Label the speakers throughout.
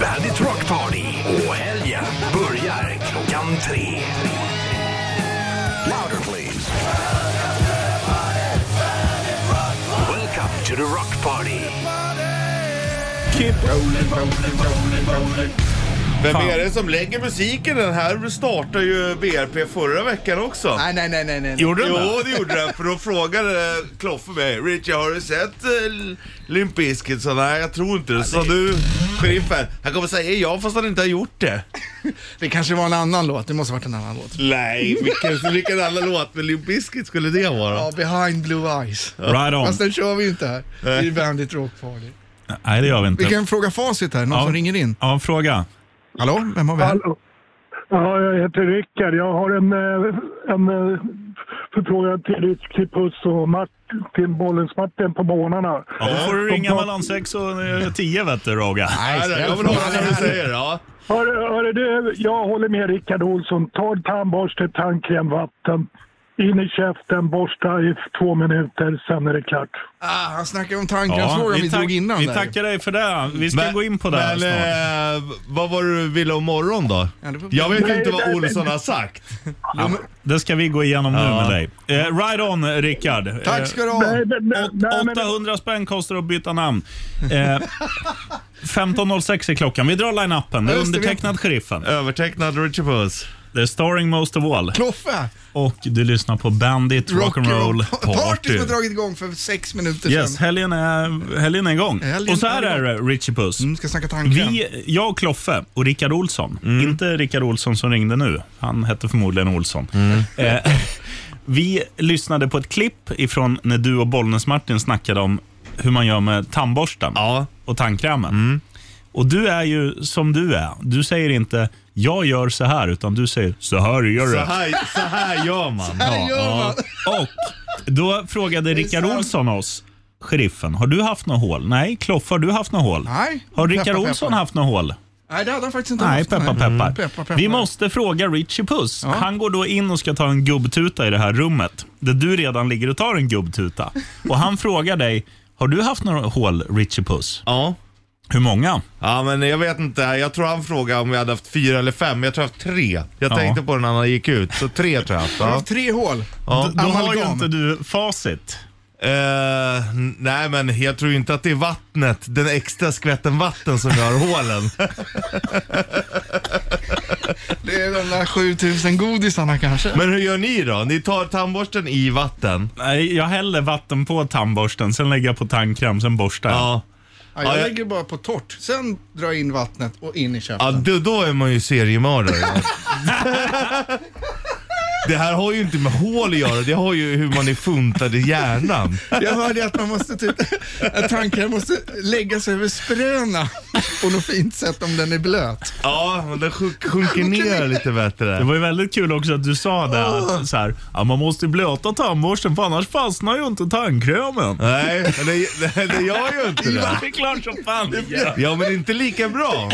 Speaker 1: Bandit Rock Party och helgen börjar klockan tre. Louder please. Welcome to the Rock Party.
Speaker 2: Vem är det som lägger musiken? Den här startade ju BRP förra veckan
Speaker 3: Äh,
Speaker 2: också.
Speaker 4: Nej, nej, nej, nej, nej.
Speaker 2: Gjorde den Jo, det gjorde den. För då frågade Kloffe mig, Richie har du sett eh, Limp Bizkit? Så nej, jag tror inte det. Så du, sheriffen, han kommer säga ja fast han inte har gjort det.
Speaker 4: Det kanske var en annan låt. Det måste ha varit en annan låt.
Speaker 2: Nej, vilken, vilken alla låt med Limp Bizkit skulle det vara?
Speaker 4: Ja, Behind Blue Eyes.
Speaker 3: Right on.
Speaker 4: Fast den kör vi ju inte här. Det är ju Bandit Rock Party.
Speaker 3: Nej, det gör vi inte.
Speaker 4: Vi kan fråga facit här, någon
Speaker 3: Ja.
Speaker 4: som ringer in.
Speaker 3: Ja, fråga.
Speaker 4: Hallå, vem har vi här?
Speaker 5: Hallå. Ja, jag heter Rickard. Jag har en, eh, en eh, förfrågan till Ritchie Puss och Martin, Bollens Martin på morgnarna.
Speaker 3: Ja,
Speaker 4: Eh,
Speaker 3: då får du ringa mellan 6 och eh, 10 vet du, Roga.
Speaker 2: Nej,
Speaker 4: snäll
Speaker 2: jag vill höra
Speaker 4: fråga.
Speaker 2: vad du säger. Ja.
Speaker 5: Hör, hör du, jag håller med Rickard Olsson. Ta tandborste, tandkräm, vatten. In i käften, borsta i två minuter, sen är det klart.
Speaker 4: Ah, han snackade om tandkrämsfrågan vi
Speaker 3: tack-
Speaker 4: drog innan
Speaker 3: vi
Speaker 4: där.
Speaker 3: tackar dig för det. Vi ska gå in på det här
Speaker 2: Men
Speaker 3: snart.
Speaker 2: eh, vad var det du ville om morgon då?
Speaker 4: Ja, det var-
Speaker 2: Jag vet
Speaker 5: Nej,
Speaker 2: inte vad
Speaker 5: nej,
Speaker 2: Olsson har sagt.
Speaker 3: Det ska vi gå igenom nu
Speaker 2: Ja.
Speaker 3: med dig. Eh, right on, Rickard. Eh,
Speaker 4: Tack ska du ha.
Speaker 5: Nej, men- nej, nej,
Speaker 3: åt-
Speaker 5: men-
Speaker 3: 800 spänn kostar att byta namn. Eh, 15.06 är klockan. Vi drar line-upen. Det är
Speaker 4: Ja, just det, vi-
Speaker 3: undertecknad sheriffen.
Speaker 2: Övertecknad Richie Puss.
Speaker 3: Det är starring most of all.
Speaker 4: Kloffe!
Speaker 3: Och du lyssnar på Bandit Rock'n'Roll
Speaker 4: Rock'n'roll
Speaker 3: Party.
Speaker 4: Party som har dragit igång för sex minuter
Speaker 3: Yes,
Speaker 4: sedan.
Speaker 3: helgen är, helgen är igång.
Speaker 4: Helgen
Speaker 3: och så här
Speaker 4: är
Speaker 3: är det, Richie Puss.
Speaker 4: Mm, ska snacka tandkräm.
Speaker 3: Vi, jag och Kloffe och Rickard Olsson,
Speaker 4: Mm.
Speaker 3: inte Rickard Olsson som ringde nu, han hette förmodligen Olsson.
Speaker 4: Mm.
Speaker 3: Eh, vi lyssnade på ett klipp ifrån när du och Bollnäs-Martin snackade om hur man gör med tandborsten
Speaker 2: Ja.
Speaker 3: och tandkrämen.
Speaker 4: Mm.
Speaker 3: Och du är ju som du är. Du säger inte “jag gör så här” utan du säger “så här gör
Speaker 2: Så
Speaker 3: du”.
Speaker 2: här, så här gör man.
Speaker 4: Här gör man.
Speaker 3: Och då frågade Rickard
Speaker 4: sant.
Speaker 3: Olsson oss, sheriffen, har du haft några hål? Nej, Kloffe, har du haft några hål?
Speaker 4: Nej.
Speaker 3: Har Rickard
Speaker 4: Peppa,
Speaker 3: Olsson
Speaker 4: peppa.
Speaker 3: haft några hål?
Speaker 4: Nej, det hade han faktiskt inte
Speaker 3: Nej,
Speaker 4: haft.
Speaker 3: peppar, peppar.
Speaker 4: Mm, peppar, peppar.
Speaker 3: Vi måste fråga Richie Puss. Han går då in och ska ta en gubbtuta i det här rummet, där du redan ligger och tar en gubbtuta. Och han frågar dig, har du haft några hål, Richie Puss?
Speaker 2: Ja.
Speaker 3: Hur många?
Speaker 2: Ja men jag vet inte, jag tror han frågade om jag hade haft fyra eller fem, jag tror jag haft tre. Jag
Speaker 3: Ja.
Speaker 2: tänkte på den när han gick ut, så tre tror jag haft.
Speaker 4: Han har
Speaker 2: Ja.
Speaker 4: haft Tre hål.
Speaker 2: Ja.
Speaker 3: Då har ju
Speaker 4: Amalgam.
Speaker 3: inte du facit.
Speaker 2: Eh, n- nej men jag tror inte att det är vattnet, den extra skvätten vatten som gör hålen.
Speaker 4: Det är de där 7000 godisarna kanske.
Speaker 2: Men hur gör ni då? Ni tar tandborsten i vatten?
Speaker 3: Nej, jag häller vatten på tandborsten, sen lägger jag på tandkräm, sen borstar jag.
Speaker 2: Ja.
Speaker 4: Ja, jag
Speaker 2: Ja, jag-
Speaker 4: lägger bara på torrt, sen drar jag in vattnet och in i
Speaker 2: Ja,
Speaker 4: käften.
Speaker 2: då, då är man ju seriemördare. Det här har ju inte med hål att göra, det har ju hur man är funtad i hjärnan.
Speaker 4: Jag hörde att man måste typ, att tandkräm måste läggas över spröna på något fint sätt om den är blöt.
Speaker 2: Ja, men den sjunk- sjunker ner lite bättre.
Speaker 3: Det var ju väldigt kul också att du sa det. Att, så här, ja, man måste ju blöta tandborsten för annars fastnar ju inte tandkrämen.
Speaker 2: Nej, men det, det, det gör ju inte det.
Speaker 3: Det är klart som fan det gör.
Speaker 2: Ja, men inte lika bra.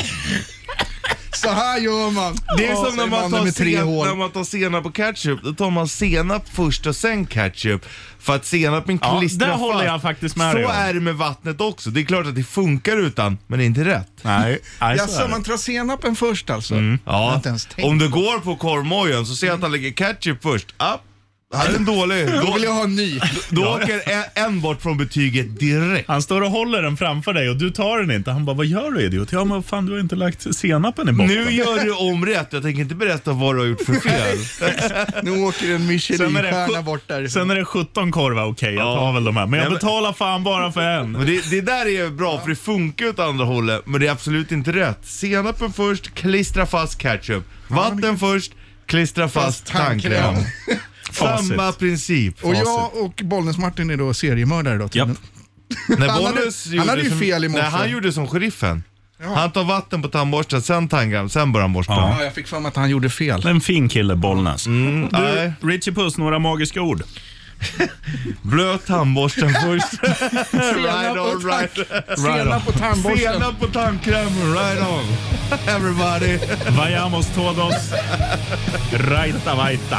Speaker 4: Så här gör man.
Speaker 2: Det är
Speaker 4: Ja,
Speaker 2: som när
Speaker 4: säger
Speaker 2: man,
Speaker 4: mannen
Speaker 2: tar
Speaker 4: med tre
Speaker 2: sen, när
Speaker 4: hål.
Speaker 2: man tar senap och ketchup. Då tar man senap först och sen ketchup. För att senapen
Speaker 3: Ja,
Speaker 2: klistrar
Speaker 3: där
Speaker 2: fast.
Speaker 3: håller jag faktiskt med
Speaker 2: Så
Speaker 3: dig om.
Speaker 2: är det med vattnet också. Det är klart att det funkar utan, men det är inte rätt.
Speaker 3: Nej, nej så
Speaker 4: Jaså,
Speaker 3: är det.
Speaker 4: man tar senapen först alltså? Mm. Jag har
Speaker 2: Ja,
Speaker 4: inte ens tänkt.
Speaker 2: om du går på korvmojen så ser jag att han lägger ketchup först. Ah, han är en dålig.
Speaker 4: Då
Speaker 2: Då,
Speaker 4: vill jag ha en ny.
Speaker 2: då åker en, en bort från betyget direkt.
Speaker 3: Han står och håller den framför dig och du tar den inte. Han bara, vad gör du idiot? Ja men fan du har inte lagt senapen i botten.
Speaker 2: Nu gör du om rätt. Jag tänker inte berätta vad du har gjort för fel.
Speaker 4: Nu åker en Michelinstjärna
Speaker 3: sju-
Speaker 4: bort
Speaker 3: sen
Speaker 4: därifrån.
Speaker 3: är det 17 korvar, okej jag
Speaker 2: Ja.
Speaker 3: tar väl de här. Men
Speaker 2: Nej,
Speaker 3: jag
Speaker 2: men-
Speaker 3: betalar fan bara för en.
Speaker 2: Men det, det där är bra för det funkar åt andra hållet men det är absolut inte rätt. Senapen först, klistra fast ketchup. Vatten först, klistra fast tandkräm.
Speaker 3: Facit.
Speaker 2: Samma princip.
Speaker 4: Och jag och Bollnäs-Martin är då seriemördare då
Speaker 3: Japp.
Speaker 4: tydligen. han
Speaker 2: När
Speaker 4: hade-
Speaker 2: Bollnäs
Speaker 4: han
Speaker 2: gjorde
Speaker 4: hade ju
Speaker 2: som-
Speaker 4: fel i morse.
Speaker 2: Nej, han gjorde som sheriffen. Han tar vatten på tandborsten, sen tandkräm, sen börjar han borsta.
Speaker 3: Ja.
Speaker 4: Ja, jag fick för mig att han gjorde fel.
Speaker 3: En fin kille, Bollnäs.
Speaker 2: Mm. Nej,
Speaker 3: Richie Puss, några magiska ord.
Speaker 2: blöt tandborsten först.
Speaker 4: Senap
Speaker 2: right on,
Speaker 4: och
Speaker 2: right
Speaker 4: tand- senap och tandborsten.
Speaker 2: Senap på tandkrämen, right on. Everybody.
Speaker 3: Vayamos todos. Raita vaita.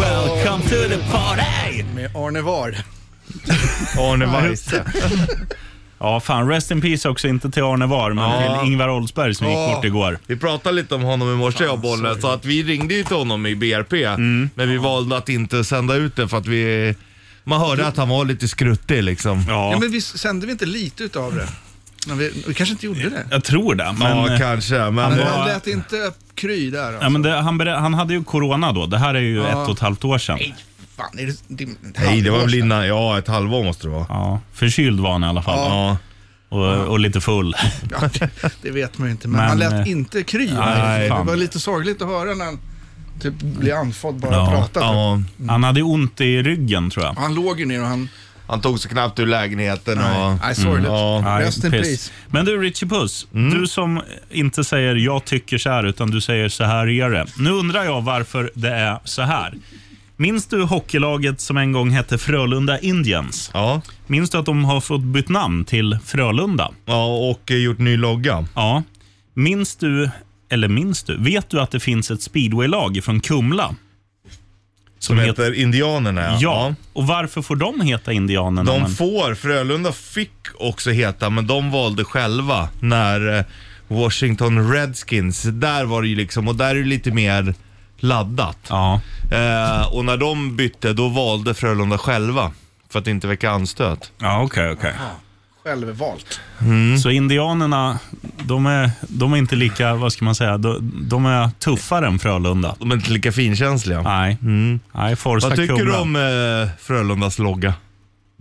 Speaker 3: Welcome to the party!
Speaker 4: Med Arne Var.
Speaker 2: Arne Weise.
Speaker 3: Ja, fan. Rest in peace också, inte till Arne Var, men
Speaker 2: Ja.
Speaker 3: till Ingvar Oldsberg som
Speaker 2: Ja.
Speaker 3: gick bort igår.
Speaker 2: Vi pratade lite om honom i morse jag och Bollnäs, så att vi ringde ju till honom i BRP,
Speaker 3: Mm.
Speaker 2: men vi valde att inte sända ut det för att vi... Man hörde att han var lite skruttig liksom.
Speaker 3: Ja,
Speaker 4: Ja, men visst sände vi inte lite utav det? Men vi, vi kanske inte gjorde det.
Speaker 3: jag tror det. Men, eh,
Speaker 2: ja, kanske. Men,
Speaker 4: Men
Speaker 3: var-
Speaker 4: han lät inte kry där. Alltså.
Speaker 3: ja, men det, han, berä- han hade ju corona då. Det här är ju ett och ett halvt år sedan.
Speaker 4: Nej, fan. Är det, det,
Speaker 2: nej, det var väl innan... Ja, ett halvår måste det vara.
Speaker 3: Ja, förkyld var han i alla fall.
Speaker 2: Ja.
Speaker 3: Och, och lite full.
Speaker 4: Ja, det, det vet man ju inte, men,
Speaker 3: Men,
Speaker 4: han lät
Speaker 3: eh,
Speaker 4: inte kry.
Speaker 3: nej,
Speaker 4: det
Speaker 3: fan.
Speaker 4: var lite sorgligt att höra när han typ blev andfådd bara
Speaker 3: Ja,
Speaker 4: pratat.
Speaker 2: ja.
Speaker 3: Han hade ju ont i ryggen tror jag.
Speaker 4: Han låg ju ner och han...
Speaker 2: Han tog sig knappt ur lägenheten och...
Speaker 4: Nej,
Speaker 3: Mm,
Speaker 4: sorgligt.
Speaker 2: Ja.
Speaker 3: Nej,
Speaker 4: Rest in
Speaker 3: piss.
Speaker 4: peace.
Speaker 3: Men du Richie Puss, du som inte säger jag tycker så här utan du säger så här är det. Nu undrar jag varför det är så här. Minns du hockeylaget som en gång hette Frölunda Indians?
Speaker 2: Ja.
Speaker 3: Minns du att de har fått bytt namn till Frölunda?
Speaker 2: ja, och eh, gjort ny logga.
Speaker 3: Ja. Minns du, eller minns du, vet du att det finns ett speedwaylag från Kumla? Som,
Speaker 2: Som heter Indianerna
Speaker 3: Ja. Och varför får de heta Indianerna?
Speaker 2: De
Speaker 3: men-
Speaker 2: får, Frölunda fick också heta, men de valde själva när eh, Washington Redskins, där var det ju liksom, och där är det lite mer laddat.
Speaker 3: Ja.
Speaker 2: Eh, och när de bytte, då valde Frölunda själva. För att inte väcka anstöt.
Speaker 3: Ja, okej, okej.
Speaker 4: Självvalt.
Speaker 2: Mm.
Speaker 3: Så indianerna, de är, de är inte lika, vad ska man säga, de, de är tuffare än Frölunda.
Speaker 2: De är inte lika finkänsliga.
Speaker 3: Nej, Nej Forza
Speaker 2: Mm. Vad tycker du
Speaker 3: Kumla.
Speaker 2: om eh, Frölundas logga?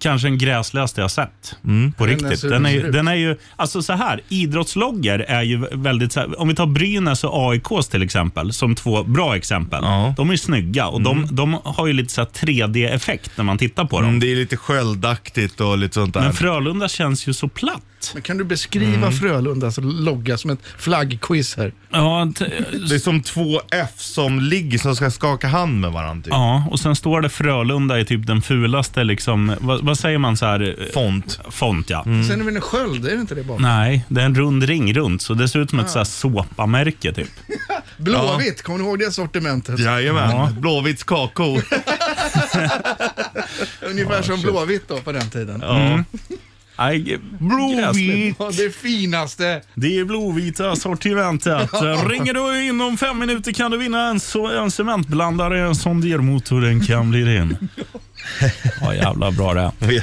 Speaker 3: Kanske den gräsligaste jag sett. Mm, På
Speaker 4: Den är
Speaker 3: riktigt.
Speaker 4: så
Speaker 3: Alltså, Den är, ju-
Speaker 4: sjuk.
Speaker 3: den är ju, alltså så här, idrottsloggar är ju väldigt, så här, om vi tar Brynäs och AIKs till exempel, som två bra exempel.
Speaker 2: Ja.
Speaker 3: De är ju snygga och de, de har ju lite så här 3D-effekt när man tittar på dem.
Speaker 2: Mm, det är lite sköldaktigt och lite sånt där.
Speaker 3: Men Frölunda känns ju så platt.
Speaker 4: Men kan du beskriva Frölundas logga som ett flaggquiz här?
Speaker 3: Ja, t-
Speaker 2: det är som två F som ligger, som ska skaka hand med varandra typ.
Speaker 3: Ja, och sen står det Frölunda i typ den fulaste, liksom, vad, vad säger man så här?
Speaker 2: Font.
Speaker 3: Font, ja.
Speaker 4: Sen är det väl en sköld, är det inte det bara?
Speaker 3: Nej, det är en rund ring runt, så det ser ut som ett så här såpamärke typ.
Speaker 4: Blåvitt, kommer ni ihåg det sortimentet?
Speaker 2: Jajamän.
Speaker 3: Ja.
Speaker 2: Blåvitts kakor.
Speaker 4: Ungefär som Blåvitt då på den tiden. Ja.
Speaker 3: Mm. Nej, g- gräsligt.
Speaker 4: det finaste.
Speaker 3: Det är blåvita sortimentet. Ringer du inom fem minuter kan du vinna en, so- en cementblandare, en sondermotor, en kan bli din. Ja, jävla bra det är.
Speaker 2: Vi är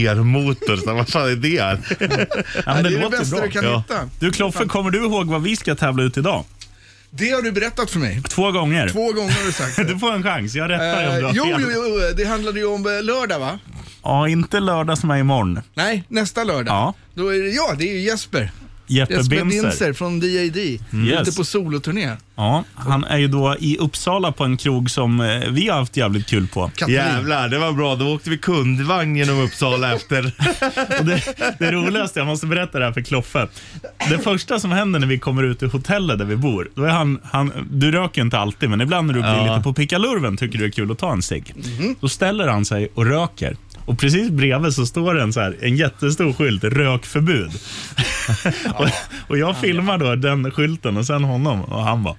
Speaker 2: sondermotor, så vad fan är det? här?
Speaker 3: Ja, men
Speaker 4: det,
Speaker 3: det
Speaker 4: är det
Speaker 3: låter
Speaker 4: bästa
Speaker 3: bra.
Speaker 4: du kan
Speaker 2: Ja.
Speaker 4: hitta.
Speaker 3: Du Kloffe, kommer du ihåg vad vi ska tävla ut idag?
Speaker 4: Det har du berättat för mig.
Speaker 3: Två gånger.
Speaker 4: Två gånger har du sagt det.
Speaker 3: Du får en chans, jag rättar dig om du
Speaker 4: Eh,
Speaker 3: har
Speaker 4: jo,
Speaker 3: fel.
Speaker 4: jo, jo, det handlade ju om eh, lördag va?
Speaker 3: Ja, inte lördag som är imorgon.
Speaker 4: Nej, nästa lördag.
Speaker 3: Ja.
Speaker 4: Då är det, ja, det är ju Jesper.
Speaker 3: Jeppe
Speaker 4: Jesper
Speaker 3: Binzer.
Speaker 4: Binzer från DAD.
Speaker 3: Mm. Yes.
Speaker 4: Ute på soloturné.
Speaker 3: Ja, han är ju då i Uppsala på en krog som eh, vi har haft jävligt kul på.
Speaker 4: Katalin.
Speaker 2: Jävlar, det var bra. Då åkte vi kundvagn genom Uppsala efter.
Speaker 3: Och det, det roligaste, jag måste berätta det här för Kloffe. Det första som händer när vi kommer ut ur hotellet där vi bor, då är han, han du röker ju inte alltid, men ibland när du blir
Speaker 2: Ja.
Speaker 3: lite på pickalurven tycker du det är kul att ta en cigg. Då ställer han sig och röker. Och precis bredvid så står det en, så här, en jättestor skylt, rökförbud. och, och jag filmar då den skylten och sen honom och han bara,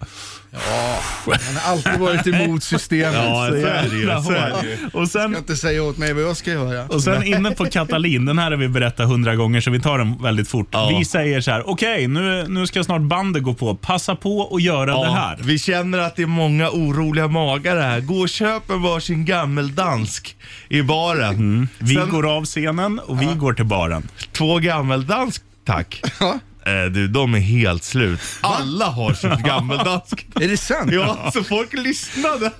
Speaker 4: Han har alltid varit emot systemet.
Speaker 2: Ja,
Speaker 4: så
Speaker 2: så
Speaker 4: jag
Speaker 2: är det ju. Så är det ju.
Speaker 3: och sen
Speaker 4: kan inte säga åt mig vad jag ska göra.
Speaker 3: Och sen inne på Katalin, den här har vi berättat hundra gånger så vi tar den väldigt fort.
Speaker 2: Ja.
Speaker 3: Vi säger så här, okej nu, nu ska snart bandet gå på, passa på att göra det här.
Speaker 2: Vi känner att det är många oroliga magar här. Gå och köp en varsin gammeldansk i baren.
Speaker 3: Vi
Speaker 2: Sen-
Speaker 3: går av scenen och vi går till baren.
Speaker 2: Två gammeldansk, tack.
Speaker 4: Ja.
Speaker 2: Eh, du, de är helt slut. Alla har sitt gammeldansk.
Speaker 4: Är det sant?
Speaker 2: Ja, så folk lyssnade.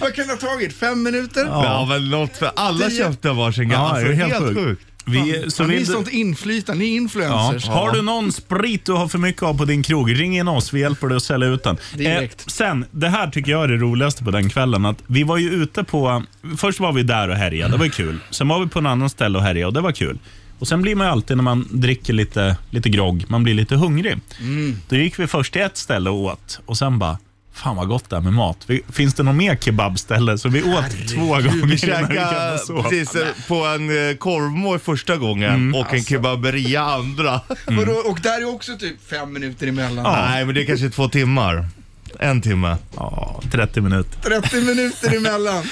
Speaker 4: Vad kan det ha tagit? Fem minuter?
Speaker 2: Ja, men något för alla
Speaker 4: Det-
Speaker 2: köpte varsin
Speaker 3: Ja,
Speaker 2: gammal.
Speaker 3: det är
Speaker 2: alltså,
Speaker 3: helt sjukt. Vi, så
Speaker 4: Ni
Speaker 3: vill
Speaker 4: är
Speaker 3: du,
Speaker 4: sånt inflytande, ni är
Speaker 3: ja.
Speaker 4: influencers.
Speaker 3: Har du någon sprit du har för mycket av på din krog, ring in oss. Vi hjälper dig att sälja ut den. Eh,
Speaker 4: Direkt.
Speaker 3: sen, det här tycker jag är det roligaste på den kvällen. Att vi var ju ute på... Först var vi där och härjade, det var ju kul. Sen var vi på en annan ställe och härjade och det var kul. Och Sen blir man ju alltid när man dricker lite, lite grogg, man blir lite hungrig. Då gick vi först till ett ställe och åt och sen bara, fan vad gott det är med mat. Vi, finns det något mer kebabställe? Så vi åt två
Speaker 2: Vi
Speaker 3: gånger innan vi
Speaker 2: käkade
Speaker 3: kunde sova.
Speaker 2: precis eh, på en eh, korvmoj första gången
Speaker 3: Mm.
Speaker 2: och
Speaker 3: Alltså.
Speaker 2: en kebaberia andra.
Speaker 4: Vadå? Och där är också typ fem minuter emellan.
Speaker 2: Nej, men det är kanske två timmar. En timme.
Speaker 3: Ja, 30 minuter.
Speaker 4: 30 minuter emellan.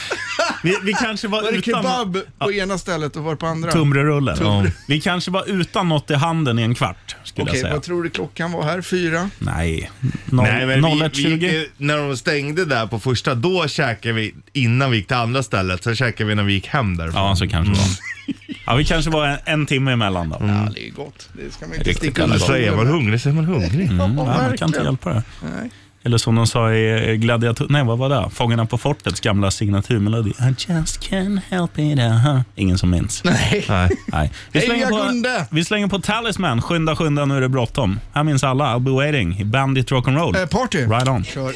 Speaker 3: Vi, vi kanske var,
Speaker 4: Var det
Speaker 3: utan...
Speaker 4: kebab på ena stället och var på andra?
Speaker 3: Tumrerullen.
Speaker 4: Tumre-
Speaker 3: Ja. Vi kanske var utan något i handen i en kvart, skulle
Speaker 4: Okej,
Speaker 3: jag säga.
Speaker 4: vad tror du klockan var här? Fyra?
Speaker 3: Nej, Noll-
Speaker 2: Nej, men vi,
Speaker 3: 01.20.
Speaker 2: vi, gick ju- när de stängde där på första, då käkade vi innan vi gick till andra stället. Sen käkade vi när vi gick hem därifrån. Mm.
Speaker 3: Ja, så kanske det var.
Speaker 4: Mm.
Speaker 3: Ja, vi kanske var en, en timme emellan då.
Speaker 4: Ja, det är gott. Det ska man inte
Speaker 3: Mm. Riktigt
Speaker 4: sticka under
Speaker 3: jävla
Speaker 2: Så är
Speaker 4: stolen
Speaker 2: man
Speaker 4: med.
Speaker 2: hungrig så är man hungrig.
Speaker 4: Ja,
Speaker 3: Ja, man kan inte
Speaker 4: verkligen.
Speaker 3: hjälpa det.
Speaker 4: Nej.
Speaker 3: Eller som de sa i Gladiator... Nej, vad var det? Fångarna på fortets gamla signaturmelodi. I just can't help it. Uh-huh. Ingen som minns.
Speaker 4: Nej.
Speaker 2: Nej.
Speaker 3: Nej. Vi,
Speaker 4: Heja,
Speaker 3: slänger på,
Speaker 4: Gunde!
Speaker 3: vi slänger på Talisman. Skynda, skynda, nu är det bråttom. Här minns alla. I'll be waiting i Bandit
Speaker 4: Eh,
Speaker 3: Rock'n'Roll.
Speaker 4: party.
Speaker 3: Right on.
Speaker 4: Kör.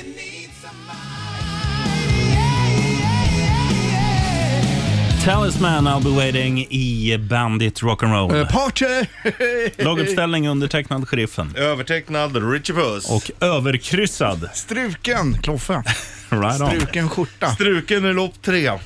Speaker 3: Talisman, I'll be waiting i Bandit
Speaker 4: Eh,
Speaker 3: Rock'n'Roll.
Speaker 4: party!
Speaker 3: Laguppställning undertecknad sheriffen.
Speaker 2: Övertecknad Richie Puss.
Speaker 3: Och överkryssad.
Speaker 4: Struken kloffe.
Speaker 3: Right on.
Speaker 4: Struken skjorta.
Speaker 2: Struken i lopp tre.
Speaker 4: Ja,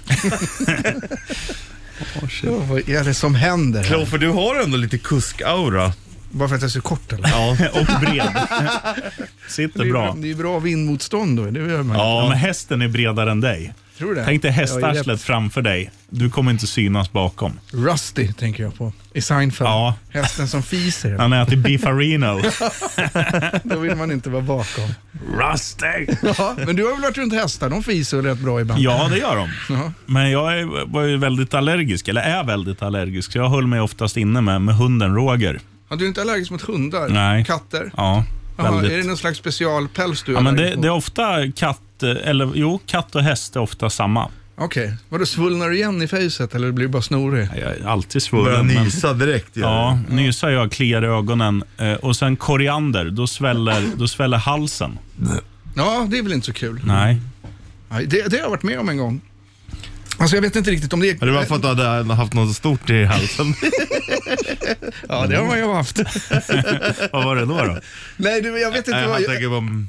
Speaker 4: vad är det som händer? här?
Speaker 2: Kloffer, du har ändå lite kusk-aura.
Speaker 4: Bara för att jag är så kort eller?
Speaker 2: Ja.
Speaker 3: Och bred.
Speaker 4: Det är,
Speaker 3: Sitter
Speaker 4: ju
Speaker 3: bra.
Speaker 4: bra. det är ju bra vindmotstånd då. Det gör man ju.
Speaker 3: Ja, men hästen är bredare än dig.
Speaker 4: Tror du det?
Speaker 3: Tänk dig
Speaker 4: Jag har ju
Speaker 3: hästarslet framför dig. Du kommer inte synas bakom.
Speaker 4: rätt. Rusty tänker jag på. I Seinfeld.
Speaker 3: Ja.
Speaker 4: Hästen som fiser.
Speaker 3: Han äter beefarino.
Speaker 4: Då vill man inte vara bakom.
Speaker 3: Rusty!
Speaker 4: Ja, men du har väl varit runt hästar? De fiser väl rätt bra ibland?
Speaker 3: Ja, det gör de.
Speaker 4: Jaha.
Speaker 3: Men jag är, var ju väldigt allergisk, eller är väldigt allergisk. Så jag höll mig oftast inne med, med hunden Roger.
Speaker 4: Ja, du är inte allergisk mot hundar?
Speaker 3: Nej.
Speaker 4: Katter?
Speaker 3: Ja,
Speaker 4: Jaha,
Speaker 3: väldigt.
Speaker 4: Är det någon slags specialpäls du är
Speaker 3: Ja, men det,
Speaker 4: allergisk
Speaker 3: det är
Speaker 4: mot?
Speaker 3: ofta katt, eh, eller jo, katt och häst är ofta samma.
Speaker 4: Okej. Vadå, svullnar du igen i fejset eller blir du bara snorig?
Speaker 3: Jag är alltid
Speaker 2: Börjar
Speaker 3: svullen. men-
Speaker 2: nysa direkt. gör
Speaker 3: Ja, nysa jag, kliar i ögonen eh, och sen koriander, då sväller, då sväller halsen.
Speaker 4: Ja, det är väl inte så kul.
Speaker 3: Nej.
Speaker 4: Nej, det, det har jag varit med om en gång. Alltså jag vet inte riktigt om det
Speaker 2: det.
Speaker 4: är...
Speaker 2: Det var för att du hade haft något stort i halsen.
Speaker 4: Ja, det har man ju haft.
Speaker 3: Vad var det då? då?
Speaker 4: Nej, du, jag vet inte
Speaker 2: Han
Speaker 4: vad... Jag,
Speaker 2: tänker på...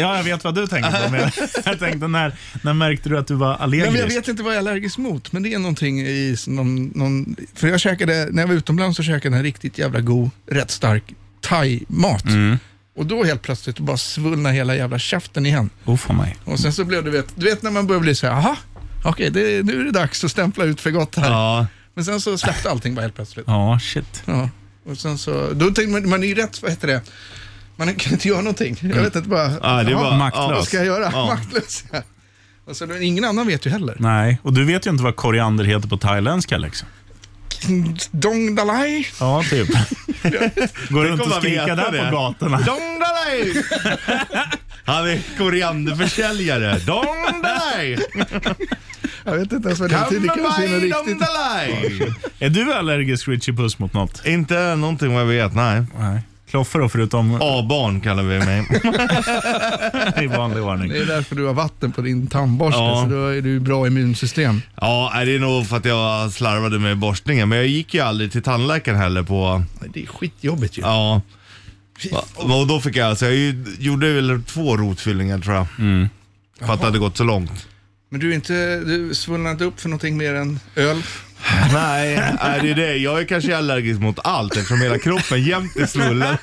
Speaker 3: Ja, jag vet vad du tänker på, men jag, jag tänkte när, när märkte du att du var
Speaker 4: Nej,
Speaker 3: allergisk?
Speaker 4: men jag vet inte vad jag är allergisk mot, men det är någonting i s- någon, någon... För jag käkade, när jag var utomlands så käkade jag en riktigt jävla god, rätt stark thai-mat. Och då helt plötsligt bara svullna hela jävla käften igen.
Speaker 3: Oh, för mig.
Speaker 4: Och sen så blev det, du vet, du vet när man börjar bli så här, aha, okej, det, nu är det dags att stämpla ut för gott här.
Speaker 2: Ja.
Speaker 4: Men sen så släppte allting bara helt plötsligt.
Speaker 3: Ja, shit.
Speaker 4: Ja. Och sen så, då tänkte man, man är ju rätt, vad heter det, man kan inte göra någonting. Jag vet inte bara,
Speaker 2: Ja, det
Speaker 4: jaha,
Speaker 2: var
Speaker 3: maktlös.
Speaker 4: vad ska jag göra?
Speaker 2: Ja.
Speaker 4: Maktlös. ja. Och så, ingen annan vet ju heller.
Speaker 3: Nej, och du vet ju inte vad koriander heter på thailändska liksom.
Speaker 4: Dong Dalai.
Speaker 3: Ja, typ. Går runt och
Speaker 2: kommer
Speaker 3: skrika
Speaker 2: veta
Speaker 3: där
Speaker 2: det.
Speaker 3: på gatorna.
Speaker 2: Dong dalai! Han är korianderförsäljare. Dong dalai!
Speaker 4: Jag vet inte ens vad det
Speaker 2: Come
Speaker 4: betyder. Det kanske är
Speaker 2: by
Speaker 4: något
Speaker 2: dong
Speaker 4: riktigt.
Speaker 2: dalai!
Speaker 3: Är du allergisk, Richie Puss, mot något?
Speaker 2: Inte någonting vad jag vet, nej.
Speaker 3: Nej. Kloffer då, förutom
Speaker 2: A-barn kallar vi mig.
Speaker 3: i vanlig ordning.
Speaker 4: Det är därför du har vatten på din tandborste,
Speaker 2: Ja.
Speaker 4: så då är du bra immunsystem.
Speaker 2: Ja, nej, det är nog för att jag slarvade med borstningen. Men jag gick ju aldrig till tandläkaren heller på...
Speaker 4: Nej, Det är skitjobbigt ju.
Speaker 2: Ja. Och då fick jag alltså, jag ju- gjorde väl två rotfyllningar tror jag. För att det hade gått så långt.
Speaker 4: Men du är inte, du svullnar inte upp för någonting mer än öl?
Speaker 2: Nej, nej, det är det. Jag är kanske allergisk mot allt eftersom hela kroppen jämt är svullen.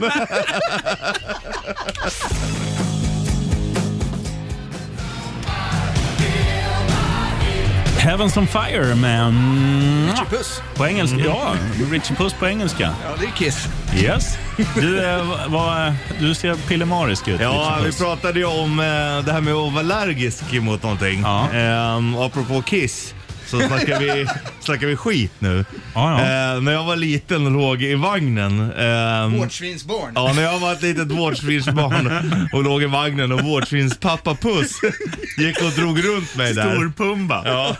Speaker 3: Heavens on fire med...
Speaker 4: Puss.
Speaker 3: På engelska?
Speaker 2: Mm.
Speaker 3: Ja, Richie Puss på engelska.
Speaker 4: Ja, det är Kiss.
Speaker 3: Yes. Du, eh, vad, du ser pillemarisk ut.
Speaker 2: Ja,
Speaker 3: Richard
Speaker 2: vi
Speaker 3: Puss.
Speaker 2: pratade ju om eh, det här med att vara allergisk mot någonting.
Speaker 3: Ja.
Speaker 2: Ehm, apropå Kiss så snackar vi, snackar vi skit nu.
Speaker 3: Ja, ja.
Speaker 2: Eh, när jag var liten och låg i vagnen. ehm,
Speaker 4: Vårdsvinsbarn.
Speaker 2: Ja, när jag var ett litet vårdsvinsbarn och låg i vagnen och vårdsvinspappa Puss gick och drog runt mig där.
Speaker 3: Storpumba.
Speaker 2: Ja.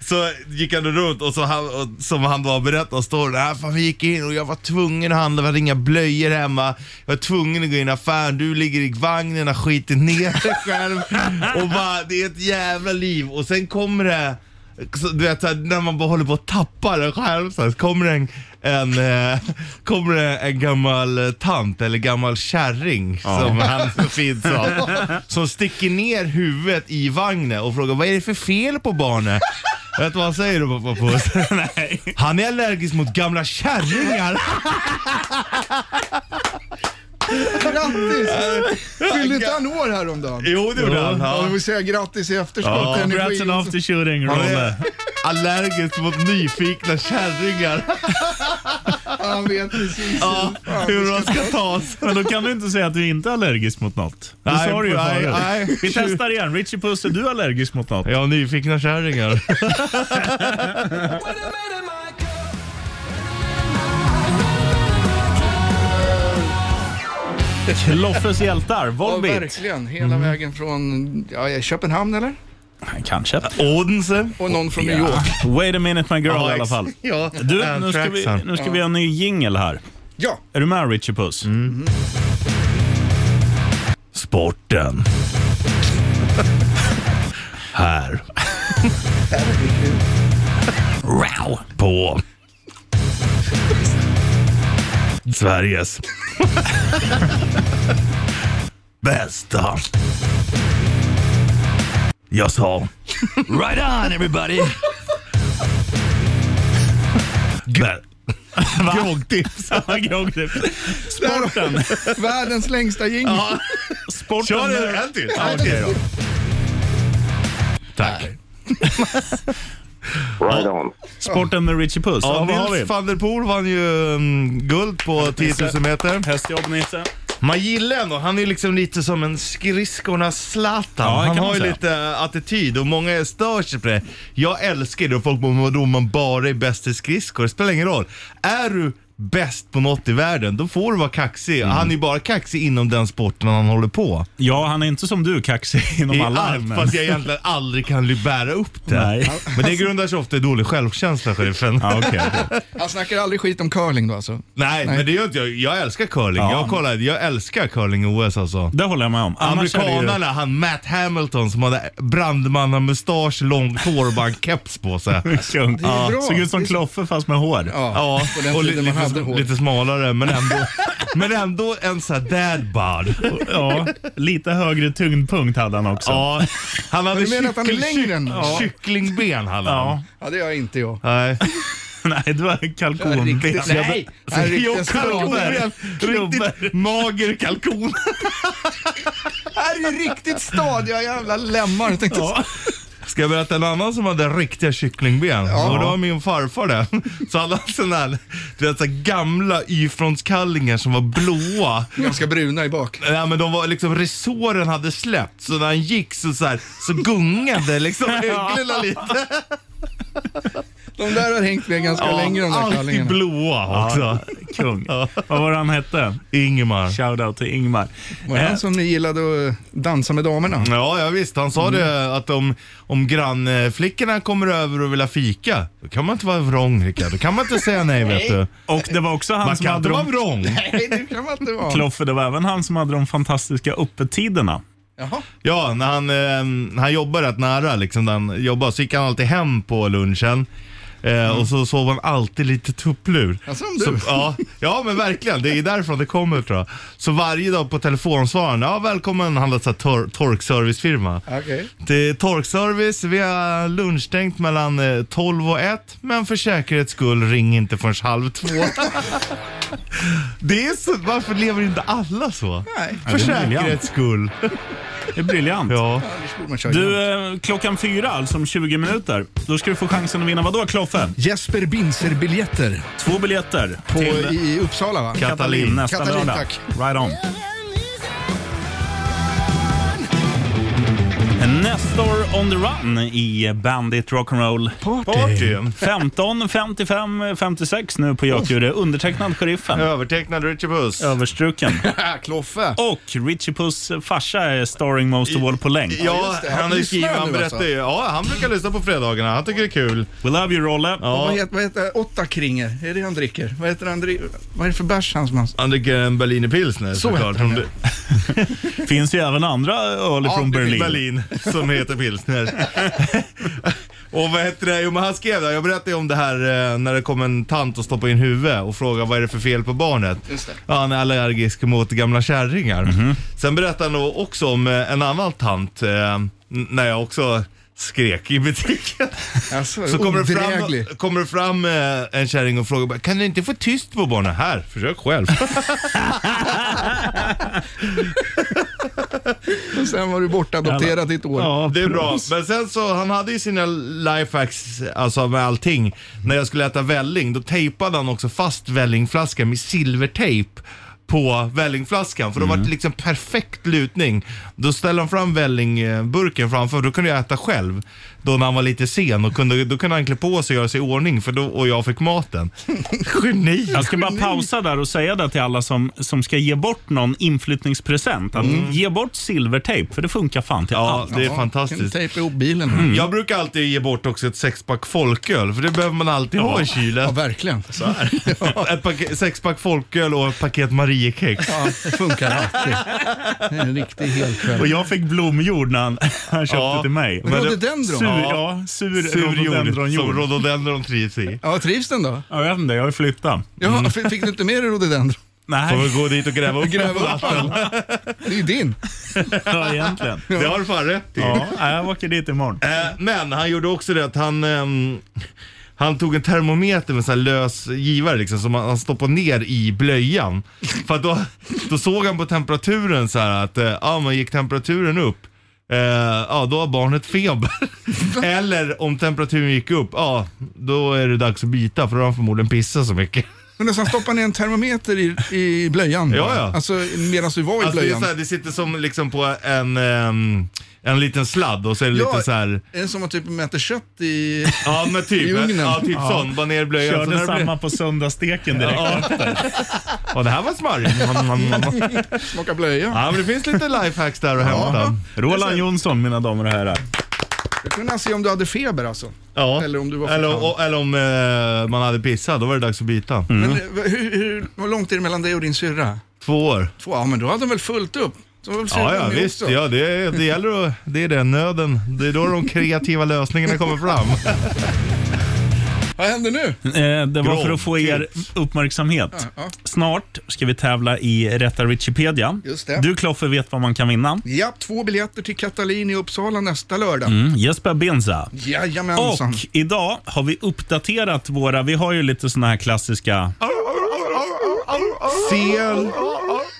Speaker 2: Så gick han runt och, så han, och som han var berättade står det här, fan vi gick in och jag var tvungen att handla, vi hade inga blöjor hemma. Jag var tvungen att gå in i affären, du ligger i vagnen, har skitit ner dig själv. Och bara, det är ett jävla liv. Och sen kommer det, så, du vet så här, när man bara håller på att tappa det själv, så här, så kommer det en en, eh, kommer det en gammal eh, tant eller gammal kärring som han så fint sa. Som sticker ner huvudet i vagnen och frågar vad är det för fel på barnet? Vet du vad han säger då pappa Puss?
Speaker 3: Nej.
Speaker 2: Han är allergisk mot gamla kärringar.
Speaker 4: Grattis! Fyllde inte han år häromdagen?
Speaker 2: Jo, det gjorde han.
Speaker 4: Ja, vi
Speaker 2: Ja.
Speaker 4: får säga grattis i efterskott.
Speaker 2: Ja,
Speaker 4: till
Speaker 3: Brats
Speaker 4: energin.
Speaker 3: and after shooting,
Speaker 2: Han är
Speaker 3: Rolle.
Speaker 2: allergisk mot nyfikna kärringar.
Speaker 4: Han vet precis.
Speaker 2: Ja, hur de ska tas.
Speaker 3: Men då kan du inte säga att du inte är allergisk mot något. Det
Speaker 2: Nej,
Speaker 3: sa du ju
Speaker 2: nej,
Speaker 3: förut.
Speaker 2: nej.
Speaker 3: Vi testar igen. Richie Puss, är du allergisk mot något?
Speaker 2: Ja, nyfikna kärringar.
Speaker 3: Loffes hjältar,
Speaker 4: Ja,
Speaker 3: Volbeat.
Speaker 4: verkligen.
Speaker 2: Mm.
Speaker 4: Hela vägen från ja, Köpenhamn eller?
Speaker 3: Kanske.
Speaker 2: Odense.
Speaker 4: Och någon från New York.
Speaker 3: Wait a minute my girl
Speaker 2: Ja,
Speaker 3: i alla
Speaker 2: ex-
Speaker 3: fall.
Speaker 2: Ja, Äh,
Speaker 3: Du,
Speaker 2: Ann
Speaker 3: nu ska, vi,
Speaker 2: Traxon.
Speaker 3: nu ska vi ha en ny jingle här.
Speaker 4: Ja,
Speaker 3: Är du med Richie Puss? Mm. Sporten.
Speaker 2: Här. Wow. På. Sveriges. Bästa. Jag sa. Right on everybody. Bä- Groggtips.
Speaker 3: Groggtips. Sporten.
Speaker 4: världens längsta jingel.
Speaker 3: Sporten.
Speaker 2: Kör det en till.
Speaker 3: Ja, okej då.
Speaker 2: Tack.
Speaker 6: Right on.
Speaker 3: Sporten med Richie Puss. Ja,
Speaker 2: Ja,
Speaker 3: vad har vi?
Speaker 2: Nils van der Poel vann ju mm, guld på 10 000 meter.
Speaker 3: Hästjobb Nisse.
Speaker 2: Man gillar ändå, han är liksom lite som en skridskornas Zlatan.
Speaker 3: Ja, det
Speaker 2: han
Speaker 3: kan
Speaker 2: har
Speaker 3: man
Speaker 2: ju
Speaker 3: säga.
Speaker 2: lite eh, attityd och många stör sig på det. Jag älskar det och folk bara vadå man bara är bäst i skridskor. Det spelar ingen roll. Är du bäst på något i världen, då får du vara kaxig.
Speaker 3: Mm.
Speaker 2: Han är ju bara kaxig inom den sporten han håller på.
Speaker 3: Ja, han är inte som du kaxig inom
Speaker 2: I
Speaker 3: alla
Speaker 2: allt,
Speaker 3: ämnen.
Speaker 2: fast jag egentligen aldrig kan ly- bära upp det.
Speaker 3: Nej.
Speaker 2: Men det grundar sig ofta i dålig självkänsla, chefen.
Speaker 3: Ja, okej. okej.
Speaker 4: Han snackar aldrig skit om curling då alltså?
Speaker 2: Nej, men det gör inte jag. Jag älskar curling.
Speaker 3: Ja.
Speaker 2: Jag kollade, jag älskar curling-OS alltså.
Speaker 3: Det håller jag med om. Annars är det ju-
Speaker 2: Amerikanarna, han Matt Hamilton som hade brandmannamustasch, långt hår och bara en keps på sig.
Speaker 3: Kung.
Speaker 4: är
Speaker 3: Ja,
Speaker 4: bra.
Speaker 3: såg ut som
Speaker 4: Det är så-
Speaker 3: Kloffe fast med hår.
Speaker 4: Ja.
Speaker 2: Ja,
Speaker 4: På den
Speaker 2: och li-
Speaker 4: tiden man
Speaker 2: lite,
Speaker 4: hade hår.
Speaker 2: lite smalare men ändå, men ändå en sån här dad bod.
Speaker 3: Ja, lite högre tyngdpunkt hade han också.
Speaker 2: Ja, han hade
Speaker 4: Men du menar att han är längre än-
Speaker 2: kyck- kycklingben. Hade han.
Speaker 3: Ja.
Speaker 4: ja, det gör inte jag.
Speaker 2: Nej.
Speaker 3: Nej, du har kalkonben.
Speaker 4: Riktigt- Nej, det är riktigt
Speaker 2: Jo, kalkoner.
Speaker 4: stolpe.
Speaker 2: Riktigt mager kalkon.
Speaker 4: Här är riktigt stadiga jävla lemmar. Jag tänkte,
Speaker 3: Ja.
Speaker 2: Ska jag berätta en annan som hade riktiga kycklingben?
Speaker 4: Ja.
Speaker 2: Och det var min farfar det. Så hade han sån här, du vet så här gamla Y-frontskallingar som var blåa.
Speaker 4: Ganska bruna i bak.
Speaker 2: Ja, men de var liksom, resåren hade släppt så när han gick så, så, här, så gungade liksom öglorna lite.
Speaker 4: De där har hängt med ganska länge de där
Speaker 2: alltid
Speaker 4: kallingarna.
Speaker 2: blåa också.
Speaker 3: Ja, kung. Vad var det han hette?
Speaker 2: Ingemar.
Speaker 3: Shoutout till Ingmar.
Speaker 4: Var det
Speaker 3: Eh,
Speaker 4: han som ni gillade att dansa med damerna?
Speaker 2: Ja, ja visst. Han sa det att om, om grannflickorna kommer över och vill ha fika, då kan man inte vara vrång Rickard. Då kan man inte säga nej vet du.
Speaker 3: Och det var också han
Speaker 2: Man
Speaker 3: som
Speaker 2: kan inte
Speaker 3: hade
Speaker 2: vara
Speaker 3: de...
Speaker 2: vrång.
Speaker 4: Nej, det kan man inte vara.
Speaker 3: Kloffe, det var även han som hade de fantastiska öppettiderna.
Speaker 4: Jaha.
Speaker 2: Ja, när han, eh, han jobbar rätt nära liksom, där han jobbar, så gick han alltid hem på lunchen. Eh, Och så sov han alltid lite tupplur.
Speaker 4: Mm. Ja, som
Speaker 2: Så,
Speaker 4: du.
Speaker 2: ja, ja men verkligen, det är därifrån det kommer tror jag. Så varje dag på telefonsvararen, ja välkommen, han hade så här tor- torkservicefirma.
Speaker 4: Okej.
Speaker 2: Det är torkservice, vi har lunchstängt mellan eh, 12 och 1, men för säkerhets skull ring inte förrän halv två. det är så, varför lever inte alla så?
Speaker 4: Nej.
Speaker 2: För
Speaker 3: det är briljant.
Speaker 2: säkerhets skull.
Speaker 3: Det är briljant.
Speaker 2: Ja.
Speaker 4: Anders Boman kör
Speaker 3: Du,
Speaker 4: du...
Speaker 3: eh, klockan fyra, alltså om 20 minuter, då ska du få chansen att vinna vad då, Kloffe?
Speaker 4: Jesper Binzer-biljetter
Speaker 3: Två biljetter
Speaker 4: på-
Speaker 3: till
Speaker 4: i Uppsala va?
Speaker 3: Katalin nästa
Speaker 4: Katalin,
Speaker 3: lördag.
Speaker 4: tack.
Speaker 3: Right on. Nestor on the run i Bandit Rock'n'Roll.
Speaker 2: Party.
Speaker 3: 15, 55, 56 nu på Gökure. Undertecknad sheriffen.
Speaker 2: Övertecknad Richie Puss.
Speaker 3: Överstruken.
Speaker 4: Ah, Kloffe.
Speaker 3: Och Richie Puss farsa är starring most of all på länk.
Speaker 2: Ja,
Speaker 4: just det. Han
Speaker 2: han har ju
Speaker 4: lyssnar
Speaker 2: skrivit,
Speaker 4: nu
Speaker 2: han
Speaker 4: alltså.
Speaker 2: berättar ju. Ja, han brukar lyssna på fredagarna. Han tycker det är kul.
Speaker 3: We love you Rolle.
Speaker 4: Vad
Speaker 2: Ja.
Speaker 4: heter, vad heter Åtta kringer? Är det han dricker? Vad heter han dri- Vad är det för bärs han som han...
Speaker 2: Han dricker en Berliner pilsner
Speaker 4: Så
Speaker 2: såklart.
Speaker 4: heter den,
Speaker 2: Om
Speaker 3: Finns ju även andra öl
Speaker 2: det-
Speaker 3: från
Speaker 2: det finns
Speaker 3: Berlin.
Speaker 2: Berlin som heter pilsner. och vad heter det? Jo men han skrev det. Jag berättade ju om det här eh, när det kom en tant och stoppade in huvudet och frågade vad är det för fel på barnet?
Speaker 4: Just det.
Speaker 2: Ja, han är allergisk mot gamla kärringar. Sen berättade han då också om eh, en annan tant eh, n- när jag också skrek i butiken.
Speaker 4: Alltså,
Speaker 2: Så kommer det,
Speaker 4: odräglig.
Speaker 2: fram, kommer det fram eh, en kärring och frågar bara, kan du inte få tyst på barnen? Här, försök själv.
Speaker 4: Och sen var du bortadopterad i ett år.
Speaker 3: Ja,
Speaker 2: Det är bra. Men sen så, han hade ju sina lifehacks alltså med allting. När jag skulle äta välling, då tejpade han också fast vällingflaskan med silvertejp på vällingflaskan. För då
Speaker 3: Mm.
Speaker 2: var det liksom perfekt lutning. Då ställde han fram vällingburken framför, då kunde jag äta själv. Då när han var lite sen, och kunde, då kunde han klä på sig och göra sig i ordning för då, och jag fick maten. Geni!
Speaker 3: Jag ska bara pausa där och säga det till alla som, som ska ge bort någon inflyttningspresent. Att Ge bort silvertejp, för det funkar fan till
Speaker 2: Mm. Ja,
Speaker 3: allt.
Speaker 2: det är
Speaker 4: Kan du
Speaker 2: fantastiskt. Mm.
Speaker 4: tejpa ihop bilen?
Speaker 2: Jag brukar alltid ge bort också ett sexpack folköl, för det behöver man alltid ha i kylen.
Speaker 4: Ja, verkligen.
Speaker 2: Ett paket, sexpack folköl och ett paket Mariekex.
Speaker 4: Ja, det funkar alltid. Det är en riktig
Speaker 3: Och
Speaker 4: helkväll.
Speaker 3: jag fick blomjord när han, han köpte
Speaker 2: Ja.
Speaker 3: till mig.
Speaker 4: Men rhododendron?
Speaker 3: Sur,
Speaker 2: Ja.
Speaker 3: ja, sur,
Speaker 2: Sur jord som
Speaker 3: rhododendronjord.
Speaker 2: rhododendron trivs i.
Speaker 4: Ja, trivs den då?
Speaker 3: Ja, jag vet inte, jag har ju flyttat.
Speaker 4: Ja,
Speaker 2: Mm.
Speaker 4: f- Fick du inte med dig rhododendron?
Speaker 2: Får
Speaker 3: Nej,
Speaker 2: vi gå dit och gräva upp
Speaker 4: Gräva upp den. Det är ju din.
Speaker 3: ja, egentligen.
Speaker 2: Det har du fan rätt i.
Speaker 3: Ja, jag åker dit imorgon.
Speaker 2: Eh, Men han gjorde också det att han, ehm, han tog en termometer med en lös givare liksom, som han han stoppade ner i blöjan. För att då, då såg han på temperaturen så här att, eh, ja men gick temperaturen upp, eh, ja då har barnet feber. Eller om temperaturen gick upp, ja då är det dags att byta för då har han förmodligen pissat så mycket.
Speaker 4: Men nästan stoppade ner en termometer i, i blöjan.
Speaker 2: Ja, ja.
Speaker 4: Alltså medan du var i
Speaker 2: Alltså det, är
Speaker 4: blöjan.
Speaker 2: så här, det sitter som liksom på en, ehm, en liten sladd och så är det
Speaker 4: Ja.
Speaker 2: lite så här.
Speaker 4: Är det som att typ mäta kött i...
Speaker 2: Ja men typ,
Speaker 4: I ugnen.
Speaker 2: ja, typ
Speaker 4: Ja.
Speaker 2: sån. Bara ner i blöjan. Så när
Speaker 3: Körde
Speaker 2: det blir-
Speaker 3: samma på söndagssteken direkt.
Speaker 2: Ja, det här var smarrigt.
Speaker 4: Smaka blöja.
Speaker 2: ja, men det finns lite lifehacks där att hämta.
Speaker 3: Roland Jonsson, mina damer och herrar.
Speaker 4: Jag kunde se om du hade feber alltså.
Speaker 2: Ja.
Speaker 4: Eller om du var
Speaker 2: eller,
Speaker 4: förkylld.
Speaker 2: och, eller om eh, man hade pissat, då var det dags att byta.
Speaker 4: Men eh, hur, hur, hur långt är det mellan dig och din syrra?
Speaker 2: Två år.
Speaker 4: Två? Ja, men då hade de väl fullt upp? Så var väl
Speaker 2: Ja,
Speaker 4: syrran
Speaker 2: ja
Speaker 4: med
Speaker 2: visst.
Speaker 4: också?
Speaker 2: Ja, det, det gäller att, det är den nöden. Det är då de kreativa lösningarna kommer fram.
Speaker 4: Vad händer nu?
Speaker 3: Eh, det var för att få er
Speaker 2: Gråt.
Speaker 3: uppmärksamhet.
Speaker 4: ja.
Speaker 3: Snart ska vi tävla i Rätta Wikipedia.
Speaker 4: Just det.
Speaker 3: Du Kloffe vet vad man kan vinna.
Speaker 4: Ja, två biljetter till Katalin i Uppsala nästa lördag.
Speaker 3: Mm, Jesper Benza. Och
Speaker 4: Jajamensan.
Speaker 3: idag har vi uppdaterat våra, vi har ju lite såna här klassiska,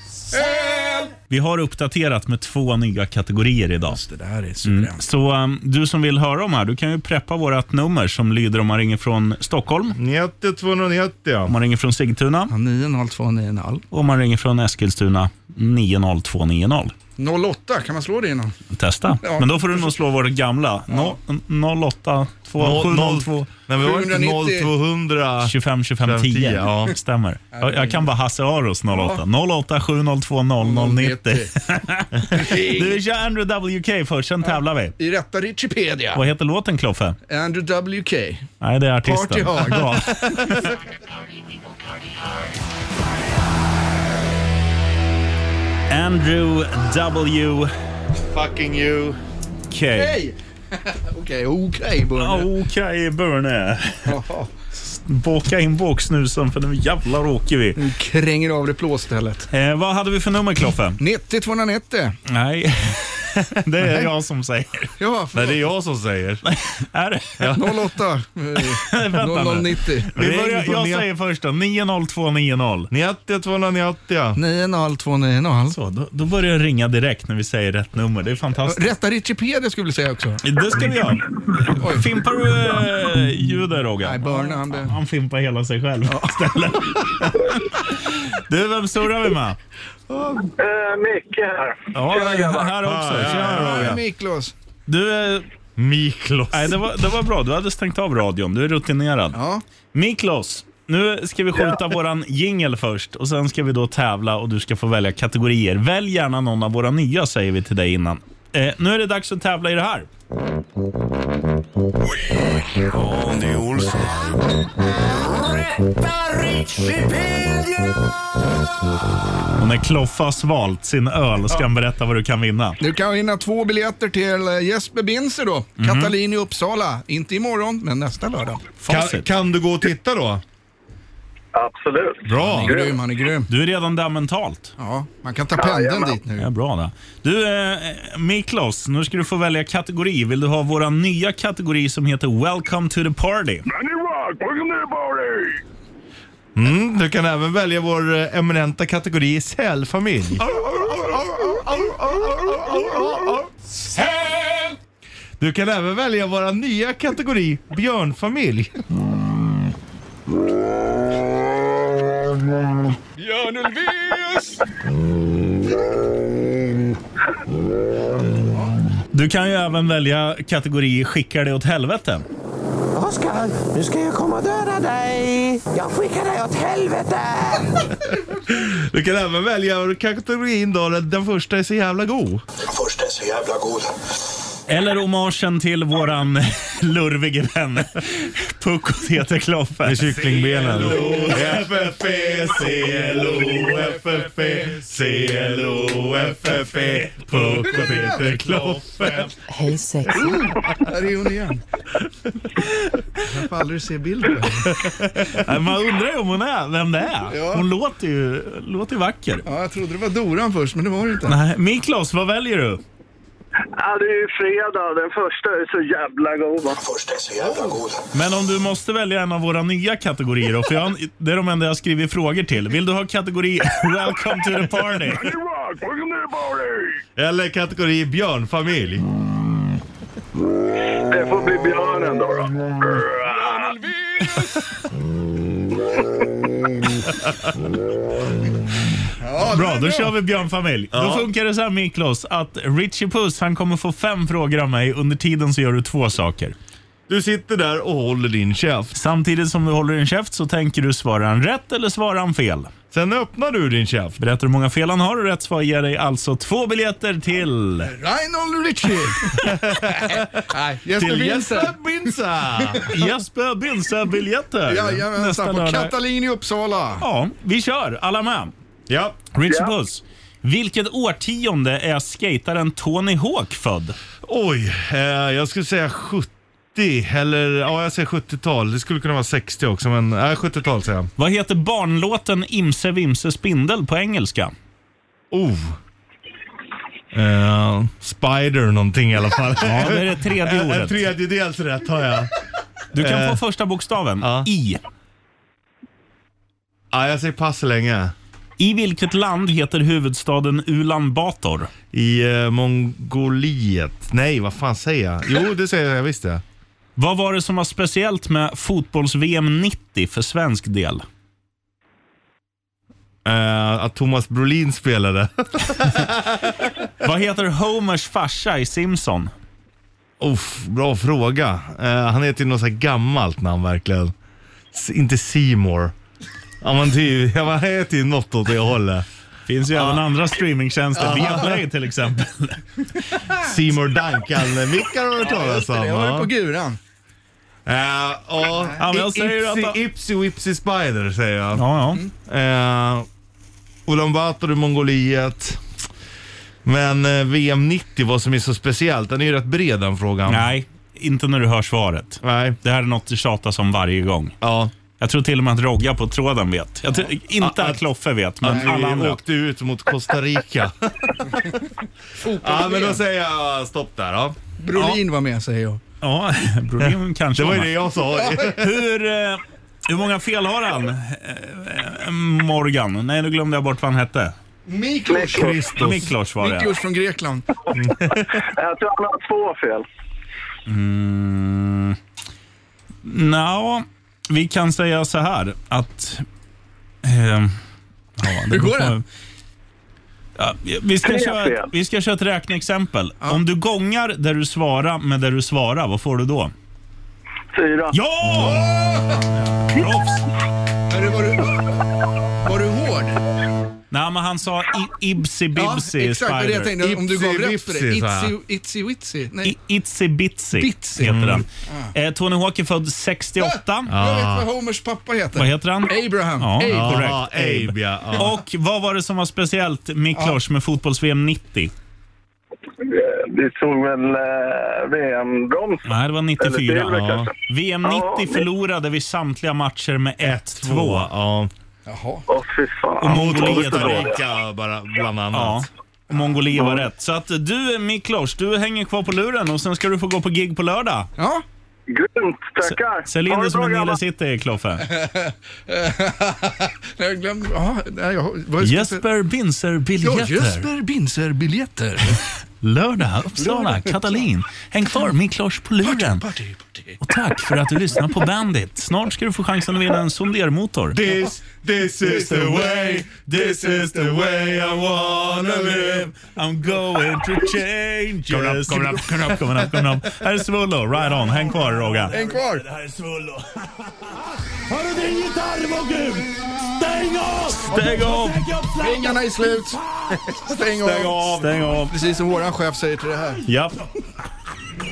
Speaker 2: Sel.
Speaker 3: vi har uppdaterat med två nya kategorier idag. Mm.
Speaker 4: Det där är suveränt.
Speaker 3: Så um, du som vill höra om här, du kan ju preppa vårt nummer som lyder om man ringer från Stockholm,
Speaker 2: 90 290 ja.
Speaker 3: om man ringer från Sigtuna
Speaker 4: Ja, 902 90.
Speaker 3: och om man ringer från Eskilstuna 90290.
Speaker 4: 08, kan man slå det innan?
Speaker 3: Testa.
Speaker 4: Ja.
Speaker 3: Men då får du nog slå vår gamla. No, 08 202
Speaker 2: Nej, men var det inte
Speaker 4: 790?
Speaker 2: 0200?
Speaker 3: 25 25 10.
Speaker 2: 10, ja.
Speaker 3: Stämmer. Jag, jag kan bara Hasse Aros 08. 08 702 0090. Du, vi kör Andrew WK först, sen tävlar vi.
Speaker 4: I rätta Wikipedia.
Speaker 3: Vad heter låten Kloffe?
Speaker 4: Andrew WK.
Speaker 3: Nej, det är artisten.
Speaker 4: Party Hard.
Speaker 3: Bra. Andrew W.K.
Speaker 2: Fucking you.
Speaker 4: Hej! Okej, okej Bunne.
Speaker 3: Okej, Burne.
Speaker 4: Jaha.
Speaker 3: Baka in baksnusen för nu jävlar åker vi.
Speaker 4: Nu kränger du av det plåstället.
Speaker 3: Eh, vad hade vi för nummer, Kloffe?
Speaker 4: 90 290.
Speaker 3: Nej, det är jag som säger.
Speaker 4: Ja,
Speaker 2: Nej, det är jag som säger.
Speaker 3: Är det?
Speaker 4: 08
Speaker 3: Vänta nu.
Speaker 4: 0090.
Speaker 3: Vi
Speaker 2: Ring
Speaker 3: börjar,
Speaker 2: på
Speaker 3: jag
Speaker 2: net-
Speaker 3: säger först då, 90290.
Speaker 2: 90 290 ja.
Speaker 4: 90290.
Speaker 3: Så, då, då börjar jag ringa direkt när vi säger rätt nummer. Det är fantastiskt.
Speaker 4: Rätta Wikipedia skulle jag säga också.
Speaker 3: Det ska vi göra. Fimpar du eh, ljudet, Roger?
Speaker 4: Nej, Burne han blev...
Speaker 3: Han fimpar hela sig själv istället. Du, vem surrar vi med?
Speaker 5: Eh, Micke här.
Speaker 3: Ja, här också. Tjena,
Speaker 4: Nej,
Speaker 3: Roger.
Speaker 4: Miklos.
Speaker 3: Du, eh,
Speaker 2: Miklos.
Speaker 3: nej, det, var, det var bra. Du hade stängt av radion. Du är rutinerad.
Speaker 4: Ja.
Speaker 3: Miklos, nu ska vi skjuta våran jingel först och sen ska vi då tävla och du ska få välja kategorier. Välj gärna någon av våra nya säger vi till dig innan. Eh, nu är det dags att tävla i det här. Och när Kloffe har svalt sin öl ska han berätta vad du kan vinna.
Speaker 4: Du kan vinna två biljetter till eh, Jesper Binzer då.
Speaker 3: Mhm.
Speaker 4: Katalin i Uppsala. Inte imorgon, men nästa lördag.
Speaker 2: Kan,
Speaker 3: Facit.
Speaker 2: kan du gå och titta då?
Speaker 5: Absolut.
Speaker 2: Bra.
Speaker 4: Grym, han är grym.
Speaker 3: Du är redan där mentalt.
Speaker 4: Ja, man kan ta pendeln dit
Speaker 3: Ja,
Speaker 4: nu.
Speaker 3: bra då. Du, eh, Miklos, nu ska du få välja kategori. Vill du ha vår nya kategori som heter Welcome to the party?
Speaker 2: Mm, du kan även välja vår eh, eminenta kategori sälfamilj. Du kan även välja vår nya kategori björnfamilj.
Speaker 3: Du kan ju även välja kategori skickar det åt helvete.
Speaker 6: Oskar, nu ska jag komma och döda dig! Jag skickar dig åt helvete!
Speaker 2: Du kan även välja kategorin då, den första är så jävla god.
Speaker 7: Först är så jävla god.
Speaker 3: Eller hommagen till våran lurvige vän Puck och Tete Kloffe.
Speaker 2: kycklingbenen. FFP, CLO, FFP,
Speaker 3: E,
Speaker 2: CLO, FFP, Puck och Peter Kloffe.
Speaker 8: Hej sex.
Speaker 4: Där är hon igen. Jag får aldrig se bild på henne.
Speaker 3: Nej, Man undrar ju om hon är, vem det är. Hon låter ju, låter ju vacker.
Speaker 4: Ja, jag trodde det var Doran först, men det var det inte.
Speaker 3: Nej, Miklas, vad väljer du?
Speaker 9: Ja, det är ju fredag. Den första är så jävla god. va?
Speaker 7: Först är så jävla god.
Speaker 3: Men om du måste välja en av våra nya kategorier då, för jag, det är de enda jag skriver frågor till. Vill du ha kategori Welcome to the party?
Speaker 2: Eller kategori björnfamilj.
Speaker 9: Det får bli björnen då. då.
Speaker 3: Bra, då kör vi björnfamilj. Då funkar det så här Miklos, att Richie Puss han kommer få fem frågor av mig. Under tiden så gör du två saker.
Speaker 2: Du sitter där och håller din käft.
Speaker 3: Samtidigt som du håller din käft så tänker du svara han rätt eller svara han fel.
Speaker 2: Sen öppnar du din käft.
Speaker 3: Berättar du hur många fel han har och rätt svar ger dig alltså två biljetter till...
Speaker 4: Reinhold Ritchie! Nej, Jesper
Speaker 2: Till
Speaker 4: Wilson.
Speaker 2: Jesper Binsa!
Speaker 3: Jesper Binsa-biljetter.
Speaker 4: Jajamensan, på Katalin i Uppsala.
Speaker 3: Ja, vi kör. Alla med.
Speaker 2: ja.
Speaker 3: Richie Puss. Vilket årtionde är skataren Tony Hawk född?
Speaker 2: Oj, eh, jag skulle säga 70 eller ja, jag säger 70-tal. Det skulle kunna vara 60 också, men nej, 70-tal säger jag.
Speaker 3: Vad heter barnlåten Imse Vimse Spindel på engelska?
Speaker 2: Oh. Eh, spider någonting i alla fall. Eh,
Speaker 3: Ja, det är det tredje
Speaker 2: En
Speaker 3: ordet.
Speaker 2: tredjedels rätt har jag.
Speaker 3: Du kan
Speaker 2: Eh.
Speaker 3: få första bokstaven.
Speaker 2: Ja.
Speaker 3: I.
Speaker 2: Ja, jag säger pass så länge.
Speaker 3: I vilket land heter huvudstaden Ulan Bator?
Speaker 2: I eh, Mongoliet. Nej, vad fan säger jag? Jo, det säger jag visst det.
Speaker 3: Vad var det som var speciellt med fotbolls-VM 90 för svensk del?
Speaker 2: Eh, att Thomas Brolin spelade.
Speaker 3: Vad heter Homers farsa i Simpson?
Speaker 2: Uff, bra fråga. Eh, han heter ju något så här gammalt namn verkligen. S- inte Seymour. Ja, men typ, ja, man heter ju något åt det hållet.
Speaker 3: Finns ju även andra streamingtjänster. Viaplay till exempel.
Speaker 2: Seymour Duncan. Mickar har du hört talas om.
Speaker 4: Det var
Speaker 2: va?
Speaker 4: ju på guran.
Speaker 2: Eh, ja.
Speaker 3: men jag säger
Speaker 2: Ipsy,
Speaker 3: att-
Speaker 2: Ipsy Whipsy Spider säger jag.
Speaker 3: Ja, ja.
Speaker 2: Eh, Ulan Bator i Mongoliet. Men eh, VM 90, vad som är så speciellt, den är ju rätt bred den frågan.
Speaker 3: Nej, inte när du hör svaret.
Speaker 2: Nej.
Speaker 3: Det här är något det tjatas om varje gång.
Speaker 2: Ja.
Speaker 3: Jag tror till och med att Rogga på tråden vet. Jag tror, inte att Kloffe vet, men
Speaker 2: Att
Speaker 3: alla
Speaker 2: vi
Speaker 3: andra.
Speaker 2: åkte ut mot Costa Rica. ja, men då säger jag stopp där. Ja.
Speaker 4: Brolin var med säger jag.
Speaker 3: Ja, Brolin kanske
Speaker 2: Det var ju
Speaker 3: var
Speaker 2: det
Speaker 3: med.
Speaker 2: jag sa.
Speaker 3: Hur, eh, hur många fel har han? Eh, eh, Morgan? Nej, nu glömde jag bort vad han hette.
Speaker 4: Miklos.
Speaker 2: Christos.
Speaker 3: Miklos var det.
Speaker 4: Miklos från Grekland.
Speaker 9: Jag tror han har två fel.
Speaker 3: Mm. Nå, vi kan säga så här att... ehm, ja,
Speaker 4: Hur går det?
Speaker 3: Ja, vi, ska
Speaker 9: Tre
Speaker 3: köra, ett-
Speaker 9: fel.
Speaker 3: vi ska köra ett räkneexempel. Om du gångar där du svarar med där du svarar, vad får du då?
Speaker 9: Fyra.
Speaker 3: Ja! Proffs!
Speaker 4: Hörru, var, du, var du hård?
Speaker 3: Nej, men han sa i- Ibsy Bibsy
Speaker 4: exakt vad det jag
Speaker 3: Spider.
Speaker 4: tänkte. Om du
Speaker 2: Ipsy
Speaker 4: gav rätt för det.
Speaker 2: Wipsy, sa jag.
Speaker 4: Itsy, itsy Witsy.
Speaker 3: I-
Speaker 4: Nej,
Speaker 3: Itsy Bitsy,
Speaker 4: Bitsy. Mm.
Speaker 3: heter den. Eh, Tony Hawk är född 68.
Speaker 4: jag vet vad Homers pappa heter.
Speaker 3: Vad heter han?
Speaker 4: Abraham.
Speaker 3: Ja.
Speaker 4: Abe.
Speaker 3: Ja. Korrekt.
Speaker 2: Ja, Abe, ja. ja.
Speaker 3: Och vad var det som var speciellt, Miklos, med fotbolls-VM 90?
Speaker 9: Eh, Vi såg väl eh, VM-broms.
Speaker 3: Nej, det var 94.
Speaker 9: Eller det är väl
Speaker 3: Ja. VM 90
Speaker 9: Ja.
Speaker 3: förlorade vi samtliga matcher med 1-2.
Speaker 2: Två. Ja.
Speaker 4: Jaha.
Speaker 9: Åh, fy
Speaker 3: Och
Speaker 9: fan.
Speaker 2: Mot
Speaker 3: Mongoliet
Speaker 2: Costa
Speaker 3: var rätt.
Speaker 2: Rica bara, bland
Speaker 3: Ja,
Speaker 2: annat.
Speaker 3: och Mongoliet var rätt. Så att du, Miklos, du hänger kvar på luren och sen ska du få gå på gig på lördag.
Speaker 4: Ja,
Speaker 9: Grymt, tackar.
Speaker 3: Sälj
Speaker 9: Ha
Speaker 3: in
Speaker 9: det
Speaker 3: det som
Speaker 9: bra,
Speaker 3: en Nile
Speaker 9: grabbar.
Speaker 3: City, Kloffe.
Speaker 4: Nej, jag glömde. Ja, nej, jag, vad jag ska säga.
Speaker 3: Jesper Binzer
Speaker 4: Ja,
Speaker 3: Biljetter.
Speaker 4: Jesper Binzer biljetter.
Speaker 3: Lördag, Uppsala, Katalin. Häng kvar, min klosch på luren.
Speaker 4: Party, party.
Speaker 3: Och tack för att du lyssnar på Bandit. Snart ska du få chansen att vinna en sondermotor.
Speaker 2: This, this is the way, this is the way I wanna live
Speaker 3: I'm going to change Kom upp, kom upp, kom upp, kom upp, kom upp. Här är Svullo, Ride On. Häng kvar, Roga.
Speaker 4: En kvar.
Speaker 3: här är Svullo. Har du din gitarr, vår gud? Stäng av! Stäng av!
Speaker 4: Pengarna är slut. Stäng av.
Speaker 3: Stäng av! Stäng av!
Speaker 4: Precis som våran chef säger till det här.
Speaker 3: Japp.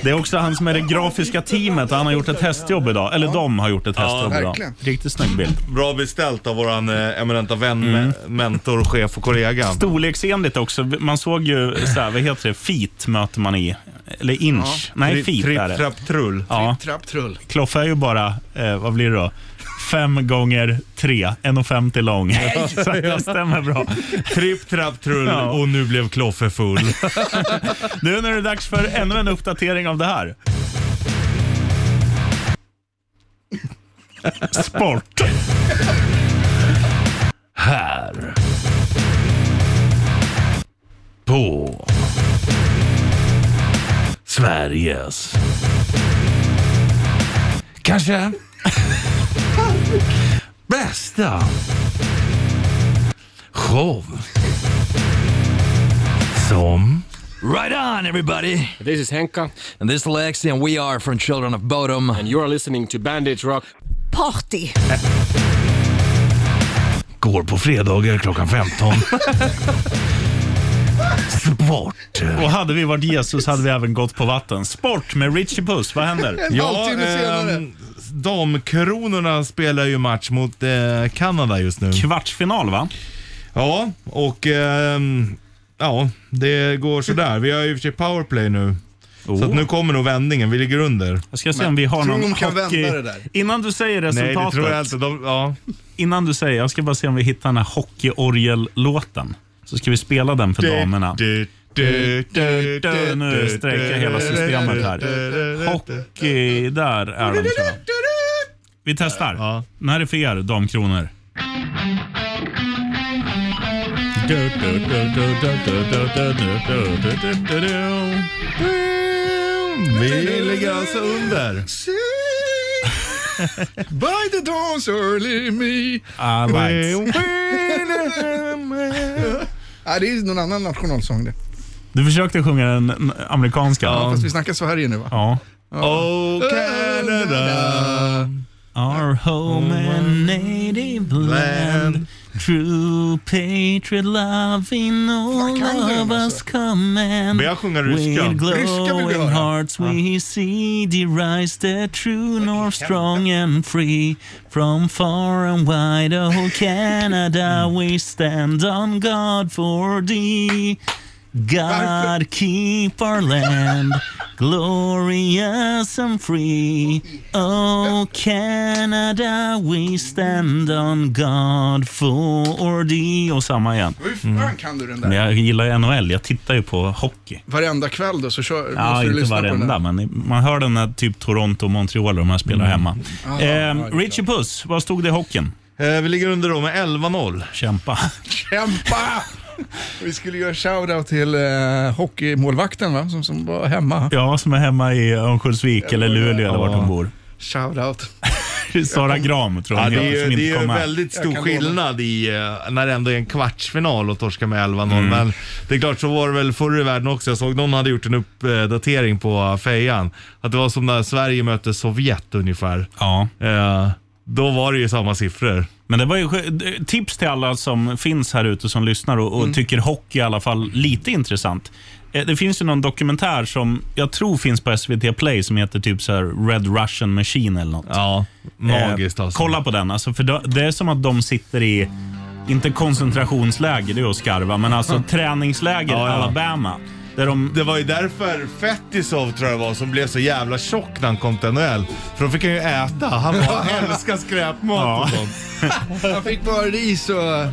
Speaker 3: Det är också han som är det grafiska teamet. Han har gjort ett hästjobb idag. Eller de har gjort ett hästjobb idag.
Speaker 4: verkligen.
Speaker 3: Riktigt snygg bild.
Speaker 2: Bra beställt av våran eh, eminenta vän,
Speaker 3: Mm.
Speaker 2: me- mentor, chef och kollega.
Speaker 3: Storleksenligt också. Man såg ju, så här, vad heter det, feet möter man i. Eller inch. Nej, feet
Speaker 2: Tripp,
Speaker 3: är det.
Speaker 2: trapp, trull.
Speaker 3: Ja.
Speaker 4: Trapp, trull.
Speaker 3: Kloffe är ju bara, eh, vad blir det då? Fem gånger tre, 1,50 lång. Så att det stämmer bra.
Speaker 2: Tripp, trapp, trull
Speaker 3: Ja.
Speaker 2: och nu blev Kloffe full.
Speaker 3: Nu när det är dags för ännu en uppdatering av det här. Sport. här. På. Sveriges.
Speaker 2: Kanske bästa show som...
Speaker 8: Right on, everybody. This is Henka. And this is Lexi, and we are from Children of Bodom. And you are listening to Bandage Rock.
Speaker 10: Party!
Speaker 2: Går på fredagar klockan 15. Sport.
Speaker 3: Och hade vi varit Jesus hade vi även gått på vatten. Sport med Richie Puss. Vad händer?
Speaker 4: En halvtimme senare.
Speaker 2: ehm, damkronorna spelar ju match mot eh, Kanada just nu.
Speaker 3: Kvartsfinal, va?
Speaker 2: Ja, och ehm, ja, det går sådär. Vi har ju i och för sig powerplay nu. Så att nu kommer nog vändningen. Vi ligger under.
Speaker 3: Oh. Jag ska se om vi har
Speaker 4: tror
Speaker 3: någon
Speaker 4: de kan
Speaker 3: hockey...
Speaker 4: vända det där?
Speaker 3: Innan du säger
Speaker 2: Nej,
Speaker 3: resultatet.
Speaker 2: det tror jag inte. De, ja.
Speaker 3: Innan du säger, jag ska bara se om vi hittar den här hockeyorgel-låten. Så ska vi spela den för damerna.
Speaker 2: Du, du, du, du,
Speaker 3: Nu strejkar hela systemet här. Hockey, där är den tror jag. Vi testar.
Speaker 2: Ja.
Speaker 3: Den här är för er, Damkronor.
Speaker 2: Vi ligger alltså under.
Speaker 4: By the dawn's early me.
Speaker 3: Ah, right.
Speaker 4: Nej, det är någon annan nationalsång det.
Speaker 3: Du försökte sjunga den n- amerikanska. Ja.
Speaker 4: Fast vi snackar Sverige nu va?
Speaker 2: Oh Canada.
Speaker 3: Our home
Speaker 2: Mm.
Speaker 3: and native land True patriot love in all
Speaker 4: kan du den
Speaker 3: of us
Speaker 4: alltså?
Speaker 3: command
Speaker 2: Men jag sjunger ryska.
Speaker 3: With
Speaker 4: Ryska vill du
Speaker 3: glowing
Speaker 4: höra?
Speaker 3: hearts we see the rise the true north strong and free From far and wide, oh Canada we stand on God for thee God keep our land glorious and free. Oh Canada, we stand on God for thee. Och samma igen.
Speaker 4: Hur fan kan du den
Speaker 3: Men
Speaker 4: där?
Speaker 3: jag gillar ju NHL, jag tittar ju på hockey.
Speaker 4: Varenda kväll då så kör,
Speaker 3: Ja,
Speaker 4: måste du
Speaker 3: inte
Speaker 4: lyssna på den
Speaker 3: varenda,
Speaker 4: där.
Speaker 3: men man hör den när typ Toronto och Montreal de här
Speaker 2: Mm.
Speaker 3: spelar hemma.
Speaker 2: Ah,
Speaker 4: ja,
Speaker 3: Eh,
Speaker 4: det är
Speaker 3: Richie Puss, vad stod det i hockeyn?
Speaker 2: Eh, Vi ligger under då med 11-0.
Speaker 3: Kämpa.
Speaker 4: Kämpa! Vi skulle göra shoutout till eh, hockeymålvakten va? Som, som var hemma.
Speaker 3: Ja, som är hemma i Örnsköldsvik eller Luleå eller vart hon bor.
Speaker 4: Shoutout.
Speaker 3: Sara Gram tror
Speaker 2: Ja,
Speaker 3: jag
Speaker 2: det
Speaker 3: hon
Speaker 2: är
Speaker 3: heter, som
Speaker 2: ju, det är
Speaker 3: inte
Speaker 2: ju
Speaker 3: kom med.
Speaker 2: väldigt
Speaker 4: Jag
Speaker 2: stor
Speaker 4: kan lova.
Speaker 2: skillnad i eh, när det ändå är en kvartsfinal och torska med 11-0.
Speaker 3: Mm.
Speaker 2: Men det är klart, så var det väl förr i världen också. Jag såg någon hade gjort en uppdatering på eh, fejan. Att det var som när Sverige mötte Sovjet ungefär.
Speaker 3: Ja.
Speaker 2: Eh, Då var det ju samma siffror.
Speaker 3: Men det var ju skö- tips till alla som finns här ute som lyssnar och, och
Speaker 2: Mm.
Speaker 3: tycker hockey i alla fall lite intressant. Eh, Det finns ju någon dokumentär som jag tror finns på SVT Play som heter typ så här Red Russian Machine eller något.
Speaker 2: Ja, magiskt
Speaker 3: Eh,
Speaker 2: alltså.
Speaker 3: Kolla på den. Alltså, för då- det är som att de sitter i, inte koncentrationsläger, det är att skarva, men alltså träningsläger i
Speaker 2: Ja, ja.
Speaker 3: Alabama. Där de,
Speaker 2: Det var ju därför Fetisov tror jag det var som blev så jävla tjock när han kom till NHL. För då fick han ju äta. Han bara älskar skräpmat och sånt.
Speaker 4: Han fick bara ris och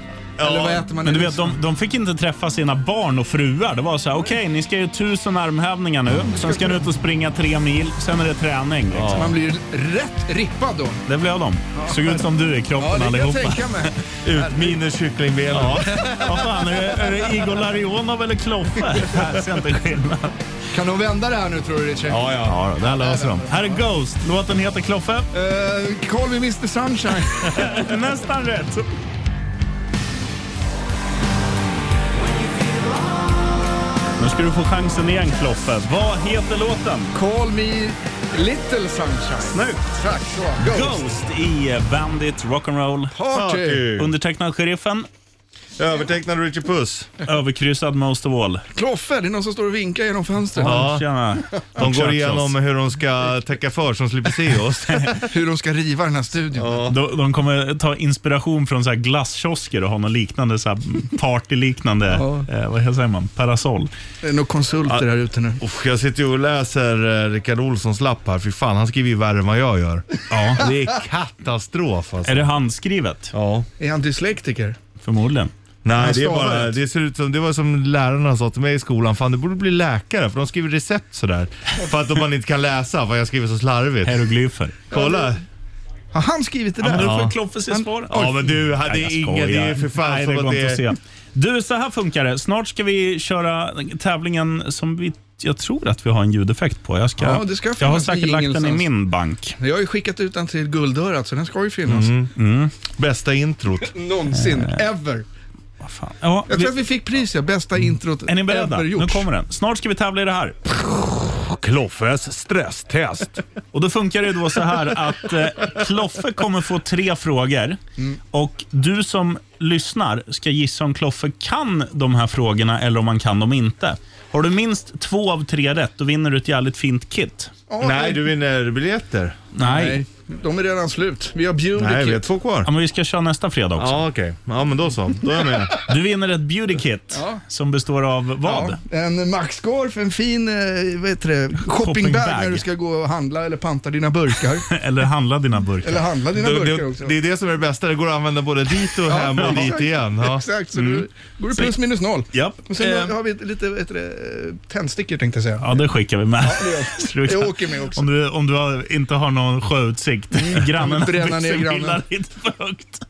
Speaker 4: Eller vad äter man
Speaker 3: Men
Speaker 4: i
Speaker 3: du vet,
Speaker 4: Ryssland?
Speaker 3: de, de fick inte träffa sina barn och fruar. Det var så här, okej, ni ska göra tusen armhävningar nu. Sen ska ni ut och springa tre mil. Sen är det träning. Liksom.
Speaker 4: Man blir rätt rippad då.
Speaker 3: Det blev de. Såg ut som du i kroppen
Speaker 4: Ja, det kan jag
Speaker 3: allihopa.
Speaker 4: tänka mig.
Speaker 2: Ut minus kycklingbenen.
Speaker 3: Ja. Vad fan, är det, är det Igor Larionov eller Kloffe? Jag ser inte skillnad.
Speaker 4: Kan de vända det här nu tror du Richard?
Speaker 2: Ja, ja.
Speaker 3: Ja, då, det här löser de. Här är Ghost. Låten heter Kloffe.
Speaker 4: Eh, call me Mr Sunshine.
Speaker 3: Nästan rätt. Nu ska du få chansen igen Kloffe. Vad heter låten?
Speaker 4: Call me Little Sunshine.
Speaker 3: Snyggt!
Speaker 4: Tack så. Ghost.
Speaker 3: Ghost i Bandit Rock'n'Roll.
Speaker 4: Party.
Speaker 2: Party.
Speaker 3: Undertecknad Sheriffen,
Speaker 2: Övertecknad Richie Puss.
Speaker 3: överkryssad Most of All.
Speaker 4: Kloffe, det är någon som står och vinkar genom fönstret.
Speaker 2: Ja.
Speaker 3: Tjena.
Speaker 2: De går
Speaker 3: Churchills.
Speaker 2: igenom hur de ska täcka för så de slipper se oss.
Speaker 4: Hur de ska riva den här studion.
Speaker 3: De, de kommer ta inspiration från så här glasskiosker och ha något liknande, så här partyliknande,
Speaker 4: Ja.
Speaker 3: eh, vad säger man, parasoll.
Speaker 4: Det är nog konsulter här ute nu.
Speaker 2: Uff, jag sitter ju och läser eh, Rickard Olssons lapp här. Fy fan, han skriver ju värre än vad jag gör. Ja. Det är katastrof alltså.
Speaker 3: Är det handskrivet?
Speaker 2: Ja.
Speaker 4: Är han dyslektiker?
Speaker 3: Förmodligen.
Speaker 2: Nej, det, är
Speaker 4: stavar
Speaker 2: bara,
Speaker 4: rätt.
Speaker 2: det ser ut som, det var som lärarna sa till mig i skolan, fan du borde bli läkare för de skriver recept sådär. För att om man inte kan läsa, för jag skriver så slarvigt.
Speaker 3: Hieroglyfer.
Speaker 2: Kolla!
Speaker 4: Har han skrivit det
Speaker 3: Ja, men
Speaker 4: där?
Speaker 3: då får
Speaker 2: Ja.
Speaker 3: Kloffe se svaret.
Speaker 2: Ja men du,
Speaker 3: Nej,
Speaker 2: hade
Speaker 3: jag
Speaker 2: inga, det är för
Speaker 3: skojar.
Speaker 2: fan
Speaker 3: Nej, det
Speaker 2: som
Speaker 3: går
Speaker 2: att det
Speaker 3: inte att
Speaker 2: är...
Speaker 3: se. Du, så här funkar det. Snart ska vi köra tävlingen som vi, jag tror att vi har en ljudeffekt på. Jag, ska,
Speaker 4: Ja, det ska
Speaker 3: jag har
Speaker 4: finnas en
Speaker 3: säkert lagt
Speaker 4: jingle
Speaker 3: den i
Speaker 4: någonstans.
Speaker 3: min bank.
Speaker 4: Jag har ju skickat ut den till guldörat så den ska ju finnas.
Speaker 2: Bästa introt.
Speaker 4: Någonsin. Ever.
Speaker 3: Vad fan. Ja,
Speaker 4: Jag
Speaker 3: vi,
Speaker 4: tror att vi fick pris ja. Bästa introt
Speaker 3: är ni beredda?
Speaker 4: ever gjort.
Speaker 3: Nu kommer den. Snart ska vi tävla i det här.
Speaker 2: Kloffes stresstest.
Speaker 3: Och Då funkar det då så här att eh, Kloffe kommer få tre frågor och du som lyssnar ska gissa om Kloffe kan de här frågorna eller om han kan dem inte. Har du minst två av tre rätt, då vinner du ett jävligt fint kit.
Speaker 4: Ja,
Speaker 2: Nej, du vinner biljetter.
Speaker 4: Nej, de är redan slut. Vi har
Speaker 2: Nej,
Speaker 4: Beauty
Speaker 2: vi har
Speaker 4: Kit.
Speaker 2: två kvar.
Speaker 3: Ja, men vi ska köra nästa fredag också.
Speaker 2: Ja, okej. Ja, men då så. Då är jag med.
Speaker 3: Du vinner ett beauty kit
Speaker 4: Ja.
Speaker 3: som består av vad?
Speaker 4: Ja, en maxgolf, en fin eh, vad heter det, shoppingbag
Speaker 3: Shoppingbag.
Speaker 4: när du ska gå och handla eller panta dina burkar.
Speaker 3: Eller handla dina burkar.
Speaker 4: eller handla dina
Speaker 2: Det,
Speaker 4: burkar
Speaker 2: det,
Speaker 4: också.
Speaker 2: det är det som är det bästa. Det går att använda både dit och hem och dit
Speaker 4: exakt.
Speaker 2: igen. Ja. Mm.
Speaker 4: Exakt, så du går du plus minus noll.
Speaker 3: Japp.
Speaker 4: Och sen
Speaker 3: Eh,
Speaker 4: har vi lite vad heter det, eh, tändstickor tänkte jag säga.
Speaker 3: Ja, det skickar vi med. Tror jag.
Speaker 4: Jag åker med också. Mm,
Speaker 3: Om du, om du har, inte har någon sjöutsikt. Grannen
Speaker 4: Bränna ner
Speaker 3: billar
Speaker 4: grannen.
Speaker 3: lite för högt.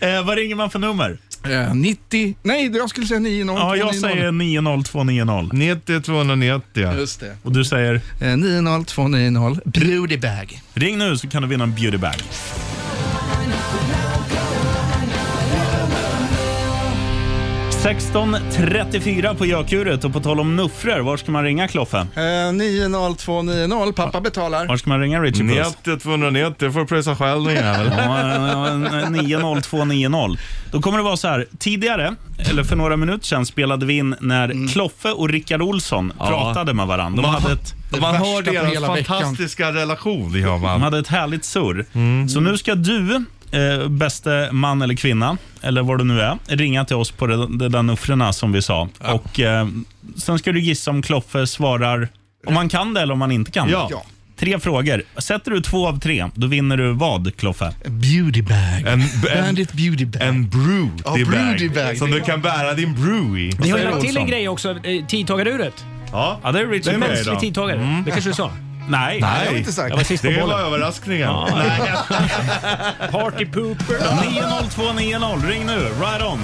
Speaker 3: Eh, vad ringer man för nummer?
Speaker 4: Eh, 90, nej jag skulle säga 90.
Speaker 3: Ja, jag säger 90290.
Speaker 2: 90 290.
Speaker 4: Just det.
Speaker 3: Och du säger,
Speaker 4: Eh, 90290, Broody Bag.
Speaker 3: ring nu så kan du vinna en beautybag. på Gökuret och på tal om nuffror, var ska man ringa Kloffe?
Speaker 4: Eh, 90290, pappa betalar.
Speaker 3: Var ska man ringa Richie Puss?
Speaker 2: 90 290. får du pröjsa själv din jävel.
Speaker 3: Ja, en- en 90290. Då kommer det vara så här. Tidigare, eller för några minuter sedan, spelade vi in när Kloffe och Rickard Olsson pratade med varandra. De hade ett,
Speaker 2: Mm. Man har
Speaker 4: värsta på
Speaker 2: deras
Speaker 4: hela veckan.
Speaker 2: fantastiska relation, det gör
Speaker 3: de
Speaker 2: man.
Speaker 3: hade ett härligt surr.
Speaker 2: Mm.
Speaker 3: Så nu ska du, eh, bäste man eller kvinna, eller vad du nu är, ringa till oss på de, de där nuffrorna som vi sa. Och, eh, sen ska du gissa om Kloffe svarar om man kan det eller om man inte kan det.
Speaker 2: Ja.
Speaker 3: Tre frågor. Sätter du två av tre, då vinner du vad, Kloffe?
Speaker 4: Beauty Bag.
Speaker 2: En, en,
Speaker 4: Bandit Beauty Bag.
Speaker 2: en
Speaker 4: Ja,
Speaker 2: broody
Speaker 4: broody
Speaker 2: bag
Speaker 4: bag.
Speaker 2: som du kan bära din brew i.
Speaker 10: Ni har ju
Speaker 3: säger
Speaker 10: lagt till en
Speaker 3: Olsson?
Speaker 10: grej också, eh, tidtagaruret.
Speaker 2: Ja,
Speaker 3: Ja, det är Richard
Speaker 2: med
Speaker 3: Puss.
Speaker 2: idag.
Speaker 10: Mänsklig tidtagare. Det kanske du sa?
Speaker 3: Nej.
Speaker 2: Nej,
Speaker 4: har inte sagt.
Speaker 10: Jag var sist på
Speaker 2: det var
Speaker 10: bollen.
Speaker 2: överraskningen. Nej.
Speaker 3: 90290, ring nu. Right on.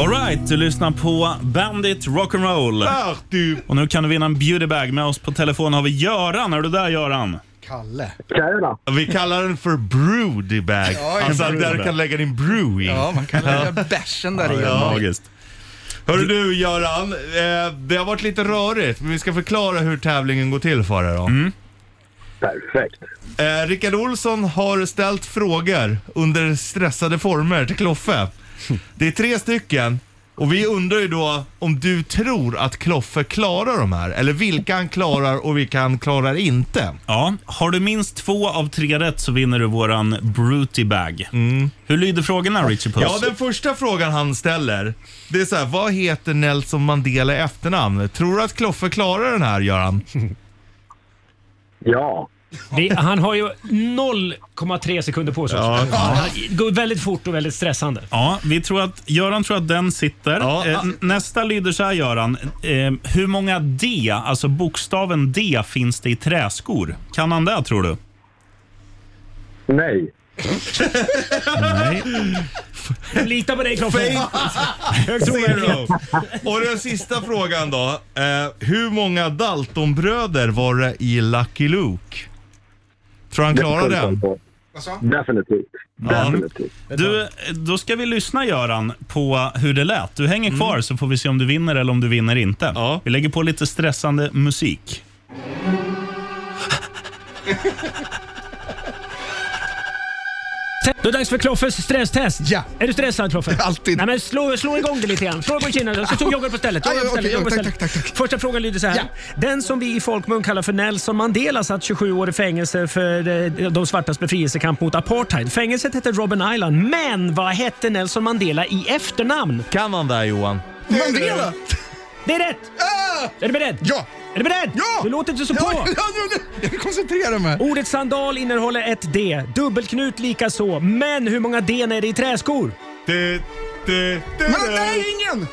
Speaker 3: Alright, du lyssnar på Bandit Rock'n'Roll.
Speaker 2: Där, du.
Speaker 3: Och nu kan du vinna en beautybag. Med oss på telefon har vi Göran. Är du där Göran?
Speaker 4: Kalle.
Speaker 9: Tjena!
Speaker 2: Vi kallar den för broody bag.
Speaker 4: Ja, en
Speaker 2: alltså
Speaker 4: broody
Speaker 2: där du
Speaker 3: bag.
Speaker 2: kan lägga din brew i.
Speaker 4: Ja, man kan lägga bärsen där i.
Speaker 3: Magiskt.
Speaker 2: Hörru du Göran, eh, det har varit lite rörigt men vi ska förklara hur tävlingen går till för dig då.
Speaker 9: Perfekt.
Speaker 2: Eh, Rickard Olsson har ställt frågor under stressade former till Kloffe. Det är tre stycken och vi undrar ju då om du tror att Kloffe klarar de här eller vilka han klarar och vilka han klarar inte.
Speaker 3: Ja, har du minst två av tre rätt så vinner du våran brutybag. Hur lyder frågorna Richie Puss?
Speaker 2: Mm. Ja, den första frågan han ställer, det är så här, vad heter Nelson Mandela i efternamn? Tror du att Kloffe klarar den här Göran?
Speaker 9: Ja.
Speaker 10: Det, han har ju 0,3 sekunder på sig.
Speaker 3: Ja.
Speaker 10: också. Det går väldigt fort och väldigt stressande.
Speaker 3: Ja, vi tror att, Göran tror att den sitter.
Speaker 10: Ja.
Speaker 3: Eh, n- nästa lyder så här Göran. Eh, hur många D, alltså bokstaven D, finns det i träskor? Kan han det tror du?
Speaker 11: Nej.
Speaker 3: Nej.
Speaker 10: Lita på dig Kloffe.
Speaker 2: Högt Zero. Och den sista frågan då. Eh, hur många Daltonbröder var det i Lucky Luke? Tror han klarar den?
Speaker 9: alltså.
Speaker 11: Definitivt. Definitivt.
Speaker 3: Du, eh, då ska vi lyssna Göran på hur det lät. Du hänger kvar så får vi se om du vinner eller om du vinner inte. Vi lägger på lite stressande musik.
Speaker 10: Då är det dags för Kloffes stresstest. Ja. Är du stressad Kloffe? Alltid. Nej, men slå, slå igång det lite grann. Slå på kinden så tog joggar du på stället. Joggar på stället, joggar på stället. Första frågan lyder så här. Den som vi i folkmun kallar för Nelson Mandela satt 27 år i fängelse för eh, de svartas befrielsekamp mot apartheid. Fängelset hette Robben Island, men vad hette Nelson Mandela i efternamn?
Speaker 2: Kan man det Johan?
Speaker 10: Mandela! Det är rätt!
Speaker 4: Ah!
Speaker 10: Är du beredd? Ja! Är du beredd? Ja! Du låter inte så Oh, på. Jag vill koncentrera mig. Ordet sandal innehåller ett D, dubbelknut lika så. Men hur många D är det i träskor?
Speaker 2: Du, du, du,
Speaker 4: Men nej, ingen!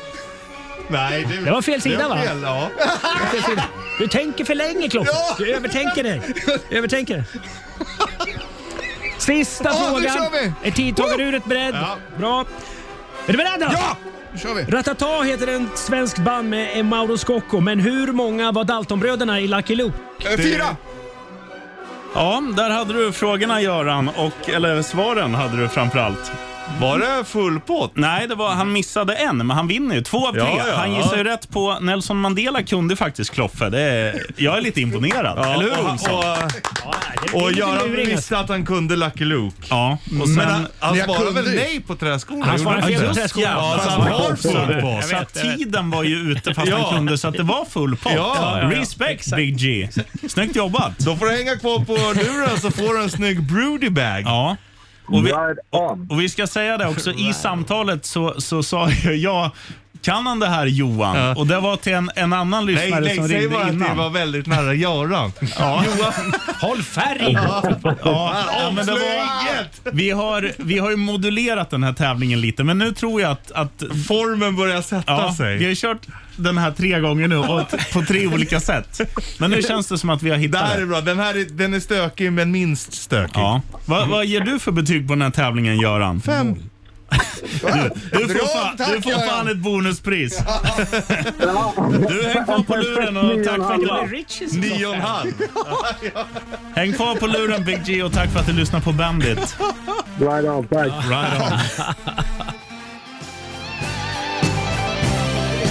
Speaker 2: Nej, det,
Speaker 10: Det var fel sida
Speaker 2: det var
Speaker 10: va?
Speaker 2: fel, ja.
Speaker 10: Det var fel sida. Du tänker för länge Kloffe. Du övertänker dig. Du övertänker. Sista
Speaker 4: Ja, nu
Speaker 10: frågan.
Speaker 4: kör vi.
Speaker 10: Är tidtagaruret beredd?
Speaker 4: Ja.
Speaker 10: Bra. Är du beredd då?
Speaker 4: Ja! Nu kör vi.
Speaker 10: Ratata heter en svensk band med Mauro Scocco, men hur många var Daltonbröderna i Lucky Luke?
Speaker 3: Eh, fyra. Ja, där hade du frågorna Göran, och, eller svaren hade du framförallt.
Speaker 2: Var det full pott?
Speaker 3: Nej, det var, han missade en, men han vinner ju. Två av tre.
Speaker 2: Ja, ja,
Speaker 3: han
Speaker 2: ja.
Speaker 3: gissade ju rätt på Nelson Mandela kunde faktiskt Kloffe. Det är, jag är lite imponerad.
Speaker 2: Ja,
Speaker 3: eller
Speaker 2: och-
Speaker 3: hur Olsson?
Speaker 2: och-
Speaker 3: är alltså.
Speaker 2: Och
Speaker 3: lite
Speaker 2: Göran
Speaker 3: luringat.
Speaker 2: visste att han kunde Lucky Luke.
Speaker 3: Ja, och sen-
Speaker 2: Men han, han
Speaker 3: Men jag
Speaker 2: svarade
Speaker 3: kunde
Speaker 2: väl
Speaker 3: ju.
Speaker 2: nej på träskorna?
Speaker 3: Han svarade
Speaker 2: gjorde
Speaker 3: fel på
Speaker 2: inte det?
Speaker 3: träskorna.
Speaker 2: Ja, så han har full pott.
Speaker 3: Så att tiden var ju ute fast han kunde, så att det var full pott.
Speaker 2: Ja, ja, ja.
Speaker 3: Respect Big G. Snyggt jobbat.
Speaker 2: Då får du hänga kvar på luren så får du en snygg broody bag.
Speaker 3: Ja. Och vi, och, och vi ska säga det också, i samtalet så, så sa jag, ja, kan han det här Johan?
Speaker 2: Ja.
Speaker 3: Och det var till en, en annan lyssnare
Speaker 2: Nej, nej,
Speaker 3: som
Speaker 2: säg
Speaker 3: ringde
Speaker 2: bara att
Speaker 3: innan.
Speaker 2: det var väldigt nära Göran.
Speaker 3: Ja.
Speaker 2: Johan.
Speaker 10: Håll färg!
Speaker 3: Ja, ja, men det
Speaker 2: Avslöjandet!
Speaker 3: var, vi, har, vi har ju modulerat den här tävlingen lite, men nu tror jag att... att
Speaker 2: Formen börjar sätta sig.
Speaker 3: Vi har ju kört den här tre gånger nu och t- på tre olika sätt. Men nu känns det som att vi har
Speaker 2: Det
Speaker 3: hittat
Speaker 2: här
Speaker 3: det.
Speaker 2: är bra. Den här är, den är stökig men minst stökig.
Speaker 3: Ja. Vad, vad ger du för betyg på den här tävlingen, Göran?
Speaker 2: Fem.
Speaker 3: Du, du,
Speaker 2: Bra,
Speaker 3: får fan,
Speaker 2: tack,
Speaker 3: du får
Speaker 2: Göran.
Speaker 3: fan ett bonuspris. Du, häng kvar på luren och tack för att
Speaker 10: Det är
Speaker 3: du...
Speaker 10: Richies
Speaker 2: Nio och en halv.
Speaker 3: Häng kvar på luren, Big G, och tack för att du lyssnar på Bandit.
Speaker 11: Right on, tack.
Speaker 3: Right on.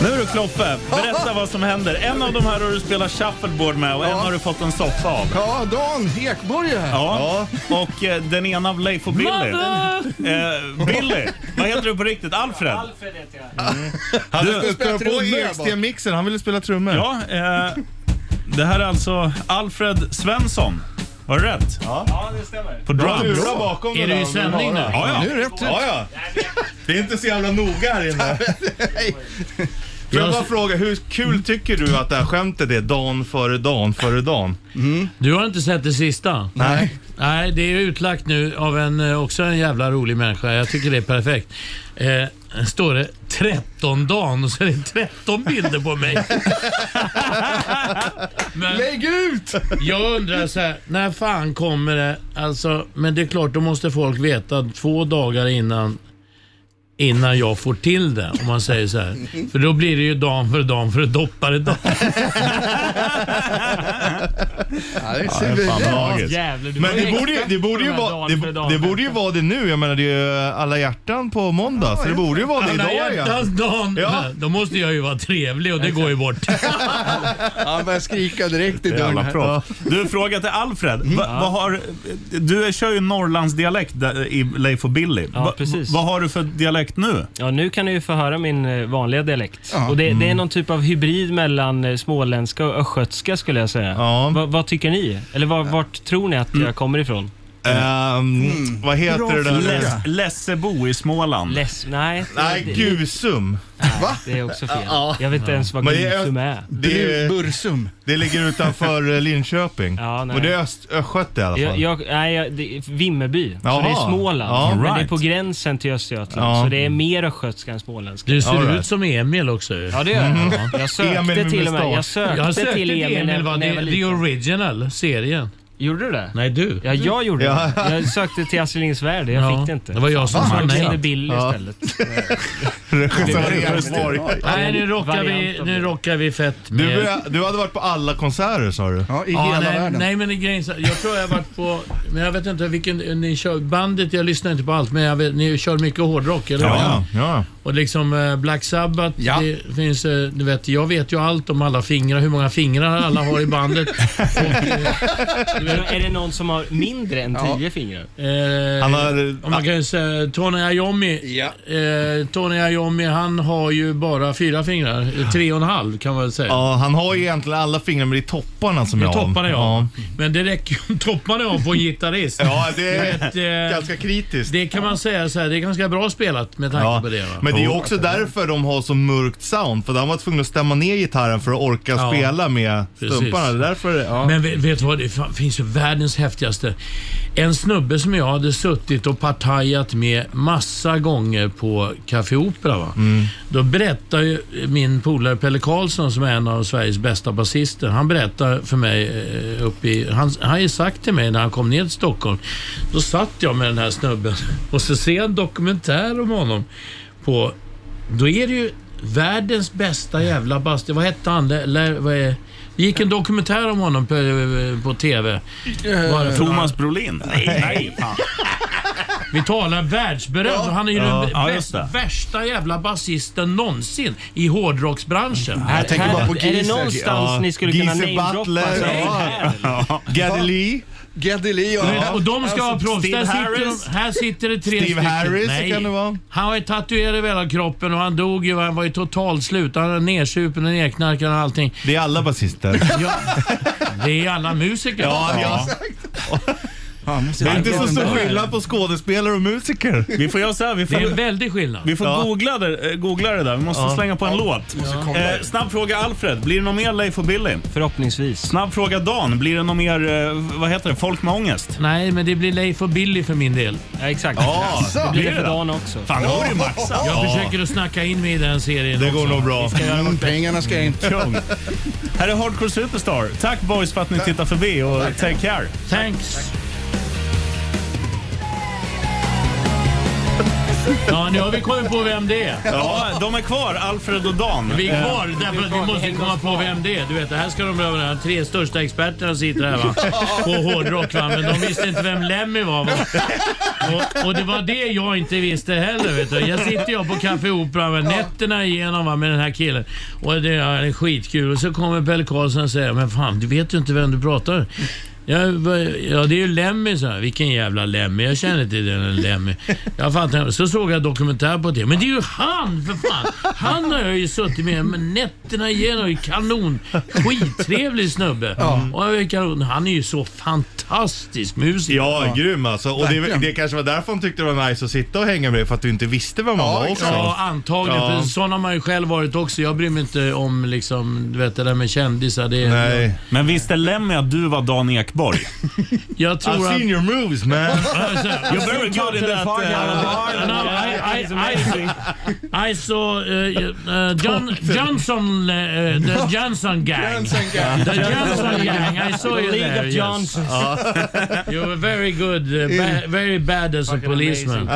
Speaker 3: Nu du Kloppe, berätta vad som händer. En av de här har du spelat shuffleboard med och en har du fått en soffa av.
Speaker 4: Ja, Dan Ekborg är här.
Speaker 3: Ja, och eh, den ena av Leif och Billy. Eh, Billy, vad heter du på riktigt? Alfred? Mm.
Speaker 10: Alfred heter jag.
Speaker 2: Han
Speaker 3: Du-
Speaker 2: ville spela på E ekstenmixen. Han ville spela trummor.
Speaker 3: Ja, eh, det här är alltså Alfred Svensson. Var det rätt?
Speaker 10: Ja, det stämmer.
Speaker 3: På drums.
Speaker 2: Lura bakom
Speaker 10: Är
Speaker 2: den
Speaker 10: du i
Speaker 2: där,
Speaker 10: sändning
Speaker 2: bara.
Speaker 10: nu?
Speaker 3: Ja, ja.
Speaker 4: Nu är det rätt ut.
Speaker 2: Ja, ja. Det är inte så jävla noga här inne. Får jag bara fråga, hur kul tycker du att det här skämtet är dan före dan före dan?
Speaker 12: Du har inte sett det sista?
Speaker 2: Nej.
Speaker 12: Nej, det är utlagt nu av en, eh, också en jävla rolig människa. Jag tycker det är perfekt. Eh, står det 13 dagen och så är det 13 bilder på mig. Men
Speaker 4: Lägg ut!
Speaker 12: jag undrar så här, när fan kommer det? Alltså, men det är klart, då måste folk veta två dagar innan innan jag får till det, om man säger så här. För då blir det ju dan för dan för doppare dan.
Speaker 4: Ja, det är
Speaker 3: det är
Speaker 4: civil.
Speaker 3: fan
Speaker 4: Ja.
Speaker 3: magiskt.
Speaker 10: Jävlar, du
Speaker 2: Men
Speaker 10: var
Speaker 2: det borde, ju-
Speaker 10: expert
Speaker 2: det, borde ju
Speaker 10: på de här
Speaker 2: vara,
Speaker 10: dagen för
Speaker 2: det,
Speaker 10: dagen.
Speaker 2: det borde ju vara det nu. Jag menar det är ju alla hjärtan på måndag, så det borde ju vara det
Speaker 12: Alla
Speaker 2: idag ja.
Speaker 12: hjärtans dan.
Speaker 2: Ja.
Speaker 12: Då måste jag ju vara trevlig och det går ju bort.
Speaker 4: Han börjar skrika direkt i dörren.
Speaker 3: Jävla
Speaker 4: här.
Speaker 3: proff. Du, fråga till Alfred. Va, vad har, du kör ju Norrlandsdialekt där i Leif och Billy.
Speaker 13: Ja,
Speaker 3: Va-
Speaker 13: precis.
Speaker 3: Vad har du för dialekt nu?
Speaker 13: Ja, nu kan du ju få höra min eh, vanliga dialekt.
Speaker 3: Ja.
Speaker 13: Och det,
Speaker 12: Mm.
Speaker 13: det är någon typ av hybrid mellan eh,
Speaker 2: Mm.
Speaker 13: småländska och östgötska skulle jag säga. Va, vad tycker ni? Eller va, vart tror ni att jag kommer ifrån?
Speaker 2: Ehm, Vad heter det där?
Speaker 3: Less- Lessebo i Småland.
Speaker 13: Less, nej,
Speaker 2: Nej, Gusum.
Speaker 13: Va? Det är också fel. Jag vet inte ens vad
Speaker 2: Men det
Speaker 13: Gusum är.
Speaker 2: Det, är-
Speaker 4: Bursum.
Speaker 2: det ligger utanför eh, Linköping.
Speaker 13: Ja, nej.
Speaker 2: Och det är öst, Östgöte i alla fall.
Speaker 13: Jag, jag, nej, jag, det, är Vimmerby. Så
Speaker 2: Jaha.
Speaker 13: det är Småland.
Speaker 2: Ja.
Speaker 13: men det är
Speaker 2: Right.
Speaker 13: på gränsen till Östergötland.
Speaker 2: Ja.
Speaker 13: Så det är mer östgötska än småländska.
Speaker 12: Du ser ut som Emil också ju.
Speaker 13: Ja, det gör jag. Jag sökte
Speaker 12: Emil med
Speaker 13: till och med- jag
Speaker 12: mustasch.
Speaker 13: sökte
Speaker 12: jag sökte
Speaker 13: till Emil när-
Speaker 12: va?
Speaker 13: när jag
Speaker 12: The-
Speaker 13: var
Speaker 12: The
Speaker 13: liten.
Speaker 12: original, serien.
Speaker 13: Gjorde du det?
Speaker 12: Nej, du.
Speaker 13: Ja, jag gjorde
Speaker 12: Ja.
Speaker 13: det. Jag sökte till Astrid Lindgrens Värld. Jag
Speaker 12: Ja.
Speaker 13: fick det inte.
Speaker 12: Det var jag som
Speaker 13: Fan,
Speaker 12: sa
Speaker 13: jag
Speaker 12: nej.
Speaker 13: kände Billy
Speaker 12: Ja.
Speaker 13: istället.
Speaker 12: Nej, nu rockar, vi,
Speaker 13: Variant av
Speaker 12: nu rockar vi fett
Speaker 2: Du,
Speaker 12: med...
Speaker 2: började- du hade varit på alla konserter sa du?
Speaker 4: Ja,
Speaker 12: Ja, nej, Nej, men det är grejen, så- jag tror jag har varit på... Men jag vet inte vilken... Ni kör, bandet, jag lyssnar inte på allt, men jag vet, ni kör mycket hårdrock, eller
Speaker 2: Ja, ja.
Speaker 12: Och liksom eh, Black Sabbath, det finns, eh, du vet, jag vet ju allt om alla fingrar, hur många fingrar alla har i bandet.
Speaker 13: Men Är det någon som har mindre än tio fingrar?
Speaker 12: Eh,
Speaker 13: Han har-
Speaker 12: om man kan ju säga Tony Iommi. Eh, Tony Iommi, han har ju bara fyra fingrar. Eh, Tre och en halv kan man väl säga.
Speaker 2: Ja, han har ju egentligen alla fingrar men det är topparna som
Speaker 12: Det
Speaker 2: jag
Speaker 12: är
Speaker 2: har.
Speaker 12: topparna jag
Speaker 2: Ja.
Speaker 12: har. Men det räcker ju om topparna jag har på en gitarrist.
Speaker 2: Ja, det är
Speaker 12: ganska
Speaker 2: kritiskt.
Speaker 12: Det kan man säga så här, det är ganska bra spelat med tanke
Speaker 2: Ja,
Speaker 12: på det. Va?
Speaker 2: men det är ju också därför de har så mörkt sound, för de var tvungna att stämma ner gitarren för att orka
Speaker 12: Ja,
Speaker 2: spela med
Speaker 12: precis.
Speaker 2: stumparna. Det är Därför, ja.
Speaker 12: Men vet, vet du vad, det fa- finns ju världens häftigaste. En snubbe som jag hade suttit och partajat med massa gånger på Café Opera. Va? Då berättar ju min polare Pelle Karlsson som är en av Sveriges bästa basister. Han berättar för mig eh, uppe i... Han han har ju sagt till mig när han kom ner till Stockholm. Då satt jag med den här snubben och så ser jag en dokumentär om honom. På, då är det ju världens bästa jävla bast. Vad hette han? Le, Le, vad är, det gick en dokumentär om honom på, på TV. Vad är det för
Speaker 3: Eh, Thomas
Speaker 12: några-
Speaker 3: Brolin? Nej, nej fan.
Speaker 12: Vi talar världsberömd och han är ju
Speaker 3: Ja.
Speaker 12: den
Speaker 3: Ja,
Speaker 12: vä-
Speaker 3: just det.
Speaker 12: värsta jävla basisten någonsin i hårdrocksbranschen.
Speaker 13: Här- tänker här- bara på är det Giesecke. någonstans Ja. ni skulle kunna Giese namedroppa Butler, så är det ja. här,
Speaker 2: Geddy Lee.
Speaker 4: Geddy Lee,
Speaker 12: Du vet,
Speaker 4: ja.
Speaker 12: Och de ska ha proffs.
Speaker 4: Alltså, Steve
Speaker 12: Där sitter
Speaker 4: Harris.
Speaker 12: de, här sitter det tre
Speaker 4: Steve
Speaker 12: stycken.
Speaker 4: Harris kan det vara.
Speaker 12: Han var ju tatuerad över hela kroppen och han dog ju. Han var ju totalt slut. Han var nedsupen och nedknarkad och allting.
Speaker 2: Det är alla basister.
Speaker 12: Ja, det är alla musiker.
Speaker 2: Ja, det är- Det är inte så stor skillnad på skådespelare och musiker.
Speaker 3: Vi får göra så här, vi får-
Speaker 12: Det är en väldig skillnad.
Speaker 3: Vi får
Speaker 2: Ja.
Speaker 3: googla, det, eh, googla det där. Vi måste
Speaker 2: Ja.
Speaker 3: slänga på
Speaker 2: Ja.
Speaker 3: en låt.
Speaker 2: Måste kolla.
Speaker 3: Eh, snabb fråga Alfred. Blir det någon mer Leif och Billy?
Speaker 13: Förhoppningsvis.
Speaker 3: Snabb fråga Dan. Blir det någon mer, eh, vad heter det, folk med ångest?
Speaker 12: Nej, men det blir Leif och Billy för min del.
Speaker 13: Ja, exakt.
Speaker 3: Ja,
Speaker 13: det blir det för Dan också.
Speaker 3: Fan, då har du ju maxat.
Speaker 12: Jag
Speaker 3: Ja.
Speaker 12: försöker att snacka in mig i den serien
Speaker 3: Det går
Speaker 12: också.
Speaker 3: nog bra.
Speaker 12: Vi ska göra
Speaker 4: Mm,
Speaker 12: vårt bästa.
Speaker 4: pengarna ska in.
Speaker 3: Kung. Här är Hardcore Superstar. Tack boys för att ni tittar förbi och take care.
Speaker 12: Thanks. Ja, nu har vi kommit på vem det är.
Speaker 3: Ja, de är kvar, Alfred och Dan.
Speaker 12: Vi är kvar
Speaker 3: Eh,
Speaker 12: därför att vi måste komma på vem det är. Du vet, det här ska de behöva. De tre största experterna sitter här va? på hårdrock. Va? Men de visste inte vem Lemmy var. Va? Och, och det var det jag inte visste heller. Vet du. Jag sitter jag på Café Opera med nätterna igenom va? med den här killen. Och det är skitkul. Och så kommer Pelle Karlsson och säger, men fan du vet ju inte vem du pratar Ja, va- ja, det är ju Lemmy, så här. Vilken jävla Lemmy. Jag känner till den Lemmy. Jag fattar inte. Så såg jag dokumentär på det. Men det är ju han, för fan! Han har jag ju suttit med men nätterna igenom. Kanon! Skittrevlig snubbe.
Speaker 2: Ja.
Speaker 12: Och jag vet, kanon. han är ju så fantastisk musiker.
Speaker 2: Ja, grym alltså. Och det,
Speaker 12: Verkligen.
Speaker 2: det kanske var därför han tyckte det var nice att sitta och hänga med dig, för att du inte visste vem han var också.
Speaker 12: Ja, antagligen.
Speaker 2: Ja.
Speaker 12: För sån har man ju själv varit också. Jag bryr mig inte om liksom, du vet, det där med kändisar. Det är,
Speaker 3: Men visste Lemmy att du var Dan Ekborg?
Speaker 12: Jag tror
Speaker 2: I've
Speaker 12: att...
Speaker 2: seen your moves man.
Speaker 3: You're very good in that...
Speaker 12: No,
Speaker 3: eh,
Speaker 12: I, I, I, I saw uh, uh, John, Johnson, uh, the Johnson gang.
Speaker 4: Johnson gang.
Speaker 12: The Johnson gang. I saw you
Speaker 13: The League
Speaker 12: there.
Speaker 13: of
Speaker 12: yes.
Speaker 13: Johnsons.
Speaker 12: Ja. you were very good, uh, ba very bad as a policeman.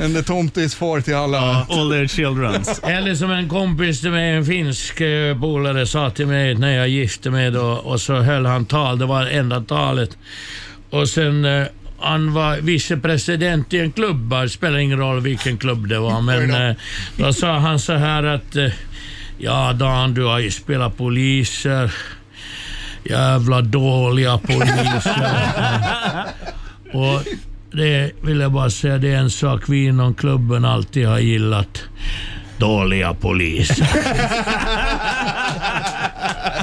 Speaker 4: En tomtis far till alla.
Speaker 3: All their children.
Speaker 12: Eller som en kompis till mig, en finsk eh, polare, sa till mig när jag gifte mig då, och så höll han tal, det var enda talet. Och sen eh, han var vicepresident i en klubb, bara, det spelar ingen roll vilken klubb det var, men eh, då sa han så här att eh, Ja Dan, du har ju spelat poliser. Jävla dåliga poliser. Och det vill jag bara säga, det är en sak vi inom klubben alltid har gillat. Dåliga poliser.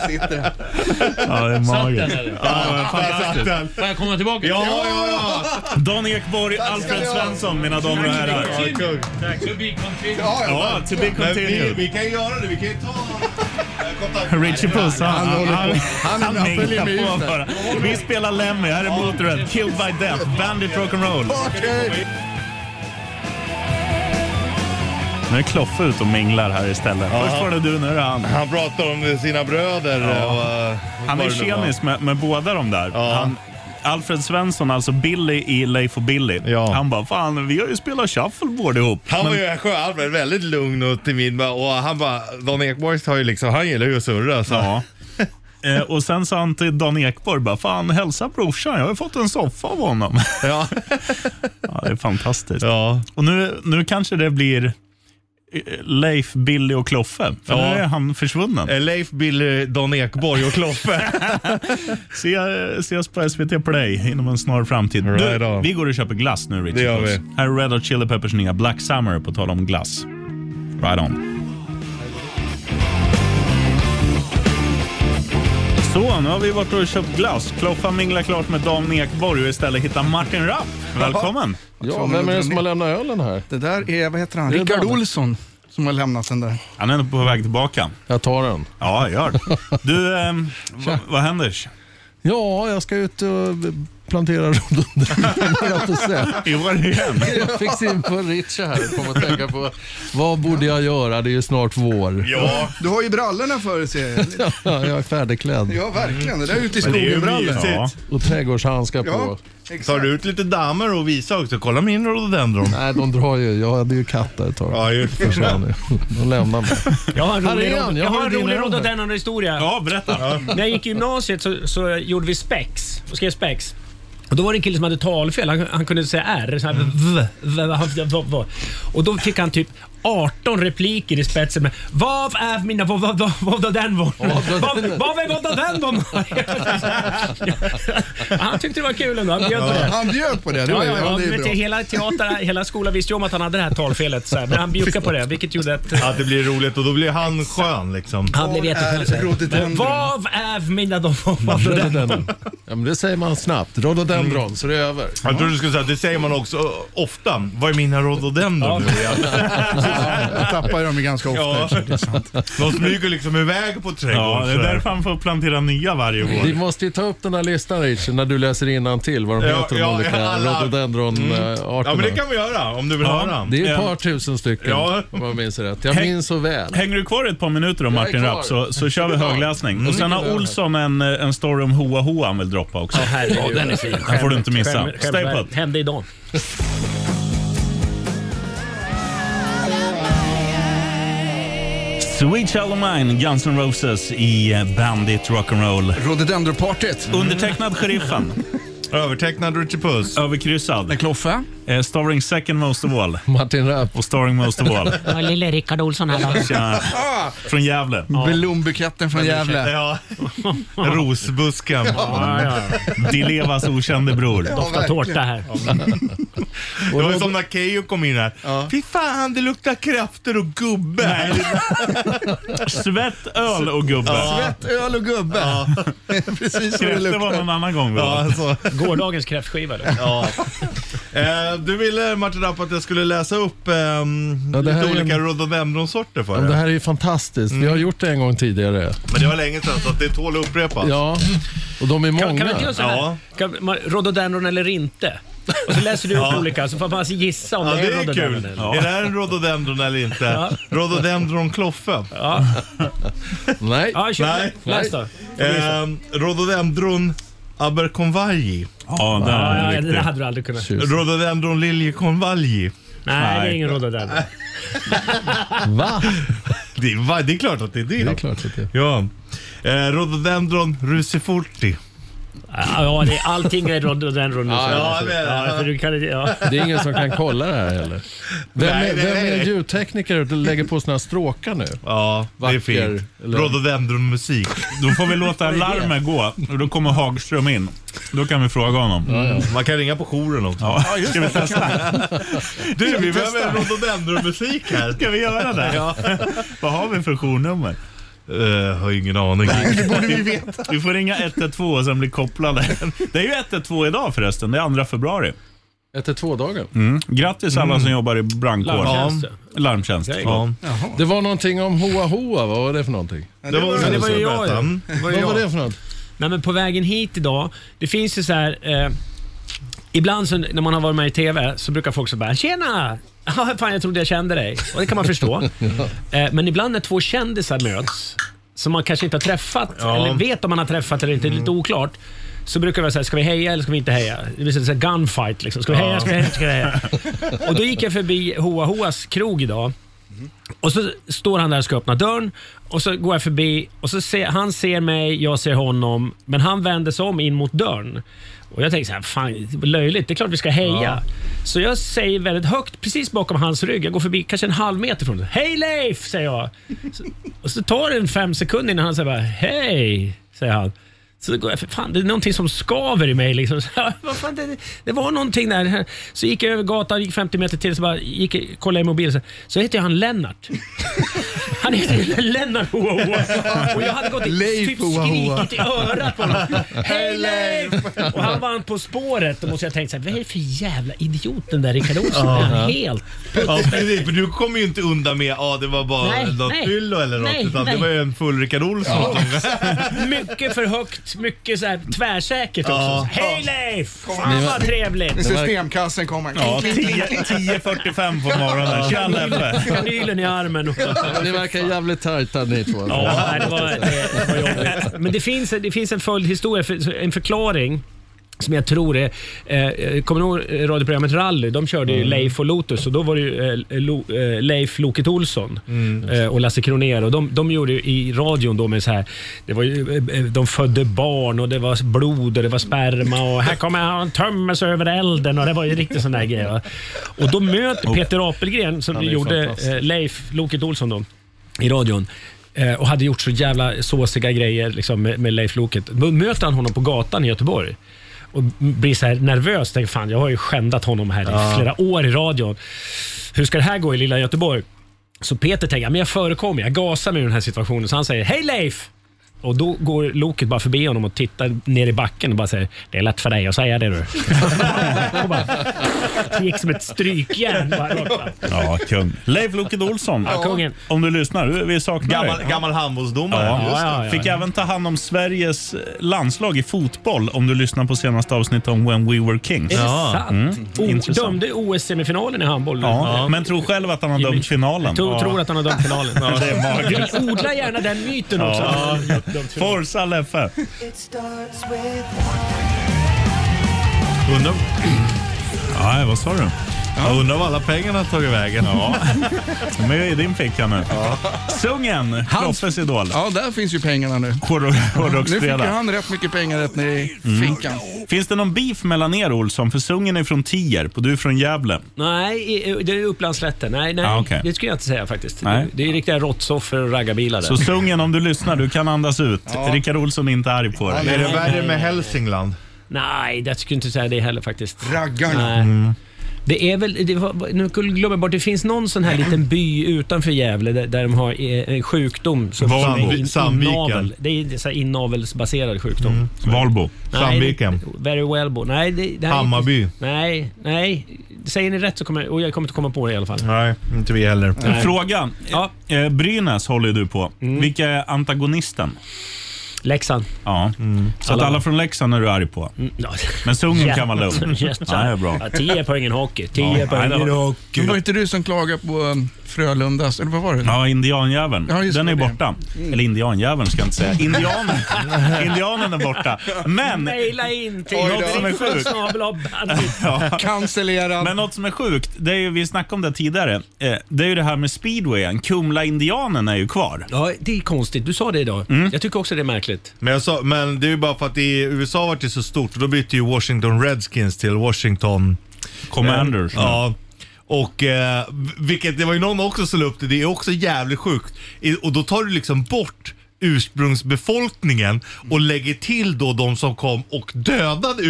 Speaker 4: sitter här.
Speaker 3: Ja, det är magiskt.
Speaker 12: eller?
Speaker 3: Ja, fantastiskt.
Speaker 12: Får jag komma tillbaka?
Speaker 3: Ja, ja, Dan Ekborg, Alfred Svensson, mina damer och herrar.
Speaker 12: Tack. To be continued.
Speaker 3: Ja, to be
Speaker 2: vi,
Speaker 3: continued.
Speaker 2: vi kan göra det, vi kan ju ta...
Speaker 3: Richie Puss, han,
Speaker 2: Han
Speaker 3: han,
Speaker 2: håller
Speaker 3: han,
Speaker 2: på.
Speaker 3: han,
Speaker 2: Han- han följer med
Speaker 3: på
Speaker 2: ut där.
Speaker 3: bara. Vi spelar Lemmy, här är Motörhead, Killed by Death, Bandit Rock'n'Roll. Nu är Kloffe ute och minglar här istället.
Speaker 2: Ja.
Speaker 3: Först var det du, nu är det han.
Speaker 2: Han pratar om sina bröder och... eh,
Speaker 3: Han
Speaker 2: vad
Speaker 3: är
Speaker 2: det nu var.
Speaker 3: tjenis med, med båda de där. Han, Alfred Svensson, alltså Billy i Leif och Billy, han bara “Fan, vi har ju spelat shuffleboard ihop”.
Speaker 2: Han
Speaker 3: Men-
Speaker 2: var ju Sjö-Alfred, väldigt lugn och timid och han bara, Dan Ekborg har ju liksom, han gillar ju att surra så.
Speaker 3: Ja. Eh, och sen sa han till Dan Ekborg bara, fan hälsa brorsan, jag har ju fått en soffa av honom.
Speaker 2: Ja.
Speaker 3: ja, det är fantastiskt. Och nu, nu kanske det blir eh, Leif, Billy och Kloffe, för
Speaker 2: Ja.
Speaker 3: nu är han försvunnen.
Speaker 2: Eh, Leif, Billy, Dan Ekborg och Kloffe.
Speaker 3: Se, ses på SVT Play inom en snar framtid.
Speaker 2: Right
Speaker 3: du,
Speaker 2: on.
Speaker 3: vi går och köper glass nu, Richard.
Speaker 2: Det gör
Speaker 3: Puss.
Speaker 2: vi.
Speaker 3: Här är Red Hot Chili Peppers nya Black Summer, på tal om glass. Right on. Så, nu har vi varit och köpt glass. Kloffa minglar klart med Dan Ekborg och istället hittar Martin Rapp. Välkommen!
Speaker 4: Ja, vem är det som har
Speaker 14: lämnat ölen här?
Speaker 4: Det där är, vad heter han,
Speaker 3: Det är
Speaker 4: Rickard
Speaker 3: Dan.
Speaker 4: Olsson som har lämnat den där.
Speaker 3: Han är nog på väg tillbaka.
Speaker 14: Jag tar den.
Speaker 3: Ja, gör det. Du, ehm, v- vad händer?
Speaker 14: Ja, jag ska ut och plantera rhododendron.
Speaker 3: I år igen.
Speaker 14: Jag fick syn på Richie här och kom att tänka på vad borde jag göra? Det är ju snart vår.
Speaker 4: Du har ju brallorna för ser jag.
Speaker 14: Ja, jag är färdigklädd.
Speaker 4: Ja, verkligen. Det där är ute i
Speaker 14: Men det är ju
Speaker 4: skogen-brallor.
Speaker 14: mysigt. Ja. Och trädgårdshandskar på.
Speaker 4: Ja,
Speaker 2: Tar du ut lite dammar och visar också, kolla min rhododendron.
Speaker 14: Nej, de drar ju. Jag hade ju katt där ett tag.
Speaker 2: Ja, just det.
Speaker 14: Försvann ju. De lämnade mig.
Speaker 10: Jag har en
Speaker 14: Här
Speaker 10: rolig,
Speaker 14: är
Speaker 10: jag
Speaker 14: han. Jag
Speaker 10: jag har en
Speaker 14: har
Speaker 10: rolig
Speaker 14: din
Speaker 10: rodd och
Speaker 14: öl.
Speaker 10: den andra historia.
Speaker 3: Ja, berätta.
Speaker 10: När jag gick i gymnasiet så, så gjorde vi spex. Och skrev spex. Och då var det en kille som hade talfel. Han, han kunde säga R. Så här, v, v, v, v, v. Och då fick han typ 18 repliker i spetsen med Vad är mina... Vad vad- vad- vad var den var? Vad vad är vad den var? Han tyckte det var kul ändå. Han bjöd på
Speaker 4: Ja,
Speaker 10: det.
Speaker 4: han bjöd på det. Det var-
Speaker 10: ja, ja,
Speaker 4: ja,
Speaker 10: ja,
Speaker 4: det är
Speaker 10: men
Speaker 4: bra. Äh,
Speaker 10: till hela teatern, hela skolan visste ju om att han hade det här talfelet. Så här, men han bjuckade på det, vilket gjorde att...
Speaker 2: Att det blir roligt och då blir han skön liksom.
Speaker 10: Han blev jätteskön. så här. Men Vad är mina de
Speaker 14: Rhododendron. Ja, men det säger man snabbt.
Speaker 3: Mm.
Speaker 14: Rhododendron, så det är över.
Speaker 2: Jag trodde du skulle säga, det säger man också ö, ofta. Vad är mina rhododendron nu igen?
Speaker 4: Jag tappar dem ju ganska ofta.
Speaker 2: Ja.
Speaker 4: eftersom det är sant.
Speaker 2: De smyger liksom iväg på trädgården.
Speaker 3: Ja, det är
Speaker 2: sådär.
Speaker 3: därför han får plantera nya varje år.
Speaker 14: Vi måste ju ta upp den här listan Richard, när du läser till vad de
Speaker 3: Ja,
Speaker 14: heter, de
Speaker 3: ja,
Speaker 14: olika
Speaker 3: ja, alla-
Speaker 2: Mm.
Speaker 14: rhododendron-arterna.
Speaker 2: Ja, men det kan vi göra om du vill höra.
Speaker 14: eh, Det är ett
Speaker 2: Eh,
Speaker 14: par tusen stycken
Speaker 2: Ja.
Speaker 14: om jag minns rätt. Jag
Speaker 3: Häng-
Speaker 14: minns så väl.
Speaker 3: Hänger du kvar ett par minuter då
Speaker 14: Jag är
Speaker 3: Martin
Speaker 14: kvar.
Speaker 3: Rapp så, så kör vi högläsning. Och sen har
Speaker 14: Mm.
Speaker 3: Olsson en, eh, en story om Hoa Hoa han vill droppa också.
Speaker 10: herregud. Ja, den är fin.
Speaker 3: Den får du inte missa.
Speaker 10: Skäm-
Speaker 3: Stay
Speaker 10: skämmer.
Speaker 3: put.
Speaker 10: Hände idag.
Speaker 3: Sweet Child of Mine, Guns N' Roses i eh, Bandit Rock'n'Roll.
Speaker 4: Rhododendropartyt.
Speaker 3: Undertecknad Sheriffen.
Speaker 2: Övertecknad Richie Puss.
Speaker 3: Överkryssad.
Speaker 4: Kloffe.
Speaker 3: Eh, starring second most of all.
Speaker 14: Martin Rapp.
Speaker 3: Och starring most of all.
Speaker 10: Ja, lille Rickard Olsson här då.
Speaker 3: Tjena. Från Gävle.
Speaker 4: Blombuketten från Gävle.
Speaker 2: Ja. Rosbusken.
Speaker 3: Ja, Di Levas okände bror.
Speaker 10: Doftar tårta här.
Speaker 2: Det var ju som när Keyyo kom in här. Fy fan, det luktar krafter och gubbe. Nej.
Speaker 3: Svett, öl och gubbe.
Speaker 4: Svett, öl och gubbe. Precis som det
Speaker 3: Kräftor
Speaker 4: luktar.
Speaker 3: var någon annan gång. väl?
Speaker 2: Ja, så.
Speaker 10: Gårdagens kräftskiva. då.
Speaker 2: Ja. Eh, du ville Martin Rapp att jag skulle läsa upp ehm,
Speaker 14: Ja, det här
Speaker 2: lite
Speaker 14: är en-
Speaker 2: olika rhododendronsorter för
Speaker 14: Men
Speaker 2: dig.
Speaker 14: det här är ju fantastiskt. Vi har
Speaker 4: Mm.
Speaker 14: gjort det en gång tidigare.
Speaker 2: Men det var länge sedan så att det tål att upprepas.
Speaker 14: Ja, och de är
Speaker 10: Kan, kan vi
Speaker 14: många.
Speaker 10: inte göra så här? Kan man, rhododendron eller inte? Och så läser du upp olika så får man alltså gissa om
Speaker 2: Ja,
Speaker 10: det är
Speaker 2: det är
Speaker 10: rhododendron
Speaker 2: kul.
Speaker 10: eller
Speaker 2: Är det här en rhododendron eller inte?
Speaker 10: Ja.
Speaker 2: Rhododendron kloffe.
Speaker 10: Ja.
Speaker 14: Nej.
Speaker 10: Ja, kör.
Speaker 2: Nej.
Speaker 10: Läs då.
Speaker 2: Ehm, rhododendron aberconvalji.
Speaker 3: Ja, där är
Speaker 10: Ja,
Speaker 3: den
Speaker 10: ja, det
Speaker 3: riktig.
Speaker 10: där hade du aldrig kunnat.
Speaker 2: Rhododendron liljekonvalji.
Speaker 10: Nej, det är
Speaker 3: Nej.
Speaker 10: ingen rhododendron.
Speaker 14: Va?
Speaker 2: Det, är- va? det är klart att det är det.
Speaker 14: Det är klart att det är.
Speaker 2: Ja. Eh, rhododendron rusiforti.
Speaker 10: Ja, ja, det är, allting är rhododendron nu.
Speaker 14: Ja,
Speaker 2: ja, det är det.
Speaker 10: Ja, för du kan, ja.
Speaker 14: Det är ingen som kan kolla det här heller. Vem
Speaker 2: Nej,
Speaker 14: är,
Speaker 2: nej,
Speaker 14: vem är
Speaker 2: nej.
Speaker 14: ljudtekniker och lägger på såna här stråkar nu?
Speaker 2: Ja, det
Speaker 14: Vacker,
Speaker 2: är fint.
Speaker 14: eller?
Speaker 2: Rhododendronmusik.
Speaker 3: Då får vi låta
Speaker 14: Vad är det?
Speaker 3: larmet gå och då kommer Hagström in. Då kan vi fråga honom.
Speaker 2: Man kan ringa på jouren också.
Speaker 3: Ja. Ska vi testa?
Speaker 2: Du, vi behöver rhododendronmusik här.
Speaker 3: Ska vi göra det?
Speaker 2: Ja.
Speaker 3: Vad har vi för journummer?
Speaker 2: Eh, har ingen aning.
Speaker 3: Du får ringa 112 och sen bli kopplade. Det är ju 112 idag förresten. Det är 2 februari.
Speaker 14: 112-dagen.
Speaker 3: Mm. Grattis alla
Speaker 14: Mm.
Speaker 3: som jobbar i brandkår.
Speaker 14: Larmtjänsten.
Speaker 3: Ja. Larmtjänst.
Speaker 14: Ja. Det var någonting om Hoa Hoa, vad var det för någonting?
Speaker 10: Ja, det var- Det var- det var ju jag, ja.
Speaker 2: Mm.
Speaker 10: Det var ju
Speaker 14: Vad var
Speaker 10: jag.
Speaker 14: det för något?
Speaker 10: Nej, men på vägen hit idag, det finns ju så här... Eh, ibland så, när man har varit med i TV så brukar folk så bara “Tjena! Ja, fan, jag trodde jag kände dig”. Och det kan man förstå. eh, men ibland när två kändisar möts, som man kanske inte har träffat,
Speaker 12: Ja.
Speaker 10: eller vet om man har träffat eller inte, det är lite oklart. Så brukar vi säga, ska vi heja eller ska vi inte heja? Det blir så här gunfight liksom. Ska vi heja,
Speaker 12: Ja.
Speaker 10: ska vi heja, ska vi heja? Och då gick jag förbi Hoa Hoas krog idag. Och så står han där och ska öppna dörren och så går jag förbi och så ser, han ser mig, jag ser honom, men han vänder sig om in mot dörren. Och jag tänker så här, fan det var löjligt, det är klart vi ska heja.
Speaker 12: Ja.
Speaker 10: Så jag säger väldigt högt, precis bakom hans rygg, jag går förbi kanske en halv meter från honom. Hej Leif, säger jag. Så, och så tar det en fem sekunder innan han säger bara, hej, säger han. Så går jag, för fan, det är någonting som skaver i mig. Liksom. Så, här, vad fan, det, det var någonting där. Så gick jag över gatan, gick 50 meter till, så bara gick, kollade i mobilen. Så, så heter jag han Lennart. Han heter ju Lennart Hoa Hoa. Och jag hade gått i,
Speaker 12: Leif
Speaker 10: typ
Speaker 12: Hoa Hoa.
Speaker 10: skrikit i örat på honom. Hej Leif! Och han vann På spåret. Då måste jag tänka så här, vad är det för jävla idiot den där Rickard Olsson är? Han helt...
Speaker 2: Ja, precis, för du kom ju inte undan med att ah, det var bara
Speaker 10: Nej,
Speaker 2: något
Speaker 10: nej.
Speaker 2: fyllo eller något.
Speaker 10: Nej,
Speaker 2: utan
Speaker 10: nej.
Speaker 2: det var ju en full Rickard Olsson.
Speaker 10: Mycket för högt, mycket så här tvärsäkert också.
Speaker 2: Ja.
Speaker 10: Hej Leif! Fan
Speaker 2: Ni var-
Speaker 10: vad trevligt!
Speaker 4: Systemkassen kommer.
Speaker 3: Ja, 10 10.45 på morgonen. Tja Leffe.
Speaker 10: Kanylen i armen.
Speaker 14: Ni verkar jävligt tajta ni två.
Speaker 10: Ja, nej, det var, det var jobbigt. Men det finns, en- det finns en följdhistoria, för- en förklaring som jag tror är, eh, kommer du ihåg radioprogrammet Rally? De körde ju Leif och Lotus och då var det ju eh, Lo, eh, Leif Loket Olsson eh, och Lasse Kronér och de, de gjorde ju i radion då med så här, det var ju, eh, de födde barn och det var blod och det var sperma och här kommer han tömmes över elden och det var ju riktigt sån där grej. va. Och då möter Peter Apelgren som
Speaker 12: Han är
Speaker 10: gjorde
Speaker 12: fantastisk.
Speaker 10: eh, Leif Loket Olsson då i radion eh, och hade gjort så jävla såsiga grejer liksom, med, med Leif Loket. Då möter han honom på gatan i Göteborg och blir så här nervös. Tänker, fan, jag har ju skändat honom här
Speaker 12: Ja.
Speaker 10: i flera år i radion. Hur ska det här gå i lilla Göteborg? Så Peter tänker, men jag förekommer, jag gasar mig ur den här situationen. Så han säger, hej Leif! Och då går Loket bara förbi honom och tittar ner i backen och bara säger, det är lätt för dig att säga det du. och bara, gick som ett strykjärn. Bara, rakt fram.
Speaker 3: Ja, kung. Leif Loket Olsson.
Speaker 10: Ja, kungen.
Speaker 3: Om du lyssnar, du- vi saknar
Speaker 2: Gammal-
Speaker 3: dig.
Speaker 2: gammal handbollsdomare.
Speaker 3: Ja.
Speaker 2: Just det.
Speaker 3: Fick även ta hand om Sveriges landslag i fotboll om du lyssnar på senaste avsnittet om When We Were Kings.
Speaker 10: Är det sant?
Speaker 3: Mm.
Speaker 10: O,
Speaker 3: Intressant.
Speaker 10: dömde OS-semifinalen i handboll?
Speaker 3: Ja, men tror själv att han har dömt finalen.
Speaker 10: Tror,
Speaker 3: Ja.
Speaker 10: tror att han har dömt finalen.
Speaker 3: Ja, det är magiskt.
Speaker 10: Men Odla gärna den myten också.
Speaker 3: Ja.
Speaker 10: Dömt finalen.
Speaker 3: Forza Leffe.
Speaker 2: Undrar...
Speaker 3: Nej, vad sa du?
Speaker 2: Jag undrar var alla pengarna har tagit vägen.
Speaker 3: Ja. De är ju i din ficka nu. Sungen, Kloffes idol.
Speaker 4: Ja, där finns ju pengarna nu. Nu fick ju
Speaker 3: Hårdrocksfredag.
Speaker 4: han rätt mycket pengar rätt ner i
Speaker 3: Mm.
Speaker 4: finkan.
Speaker 3: Finns det någon beef mellan er Olsson? För Sungen är från Tierp och du är från Gävle.
Speaker 10: Nej, i- i- det är Upplandsslätten. Nej, nej
Speaker 3: Ja, Ah, okej.
Speaker 10: det skulle jag inte säga faktiskt.
Speaker 3: Nej.
Speaker 10: Det är riktiga råttsoffer och raggarbilar. där.
Speaker 3: Så Sungen, om du lyssnar, du kan andas ut.
Speaker 10: Ja.
Speaker 3: Rickard Olsson är inte arg på dig.
Speaker 10: Ja, Är det nej, värre nej, med nej.
Speaker 2: Hälsingland?
Speaker 10: Nej, jag skulle inte säga det heller faktiskt.
Speaker 4: Raggarna.
Speaker 10: Nej.
Speaker 3: Mm.
Speaker 10: Det är väl, det var, nu glömmer jag bort, det finns någon sån här liten by utanför Gävle där, där de har eh, en sjukdom. Som
Speaker 2: Valbo.
Speaker 10: som är in-
Speaker 2: Sandviken.
Speaker 10: Innavel. Det är så här inavelsbaserad sjukdom.
Speaker 3: Mm. Valbo.
Speaker 10: Nej,
Speaker 2: Sandviken.
Speaker 10: det- Very wellbo. Nej, det, det här är
Speaker 2: Hammarby.
Speaker 10: Inte, nej, nej. Säger ni rätt så kommer jag, och jag kommer inte komma på det i alla fall.
Speaker 2: Nej, inte vi heller.
Speaker 10: Nej. Mm.
Speaker 3: Fråga. Eh, Brynäs håller ju du på. Vilka är antagonisten?
Speaker 10: Leksand.
Speaker 3: Ja. Så att
Speaker 10: Mm. Alla.
Speaker 3: alla från Leksand är du arg på. Men Sungen kan vara lugn.
Speaker 10: Ja,
Speaker 3: Ja, det är bra.
Speaker 10: Ja, 10 poäng i hockey. 10
Speaker 3: Ja,
Speaker 10: poäng
Speaker 3: nej, det
Speaker 10: i
Speaker 3: var-
Speaker 10: hockey.
Speaker 4: Det var inte du som klagade på um, Frölundas, eller vad var det?
Speaker 3: Ja, indianjäveln.
Speaker 4: Ja, just
Speaker 3: den
Speaker 4: det,
Speaker 3: är
Speaker 4: det.
Speaker 3: borta.
Speaker 10: Mm.
Speaker 3: Eller indianjäveln ska jag inte säga. Indianen, indianen är borta. Men...
Speaker 10: Maila in till
Speaker 3: Oj då. Något som är sjukt. Ja.
Speaker 4: Cancellerad.
Speaker 3: Men något som är sjukt, det är ju, vi snackade om det tidigare, eh, det är ju det här med speedwayen. Kumla-indianen är ju kvar.
Speaker 10: Ja, det är konstigt. Du sa det idag.
Speaker 3: Mm.
Speaker 10: Jag tycker också det är märkligt.
Speaker 2: Men, jag sa, men det är ju bara för att i USA vart det så stort och då bytte ju Washington Redskins till Washington
Speaker 3: Commanders.
Speaker 2: Eh, ja. Och eh, vilket, det var ju någon också som la upp det, det är också jävligt sjukt. I, och då tar du liksom bort ursprungsbefolkningen och lägger till då de som kom och dödade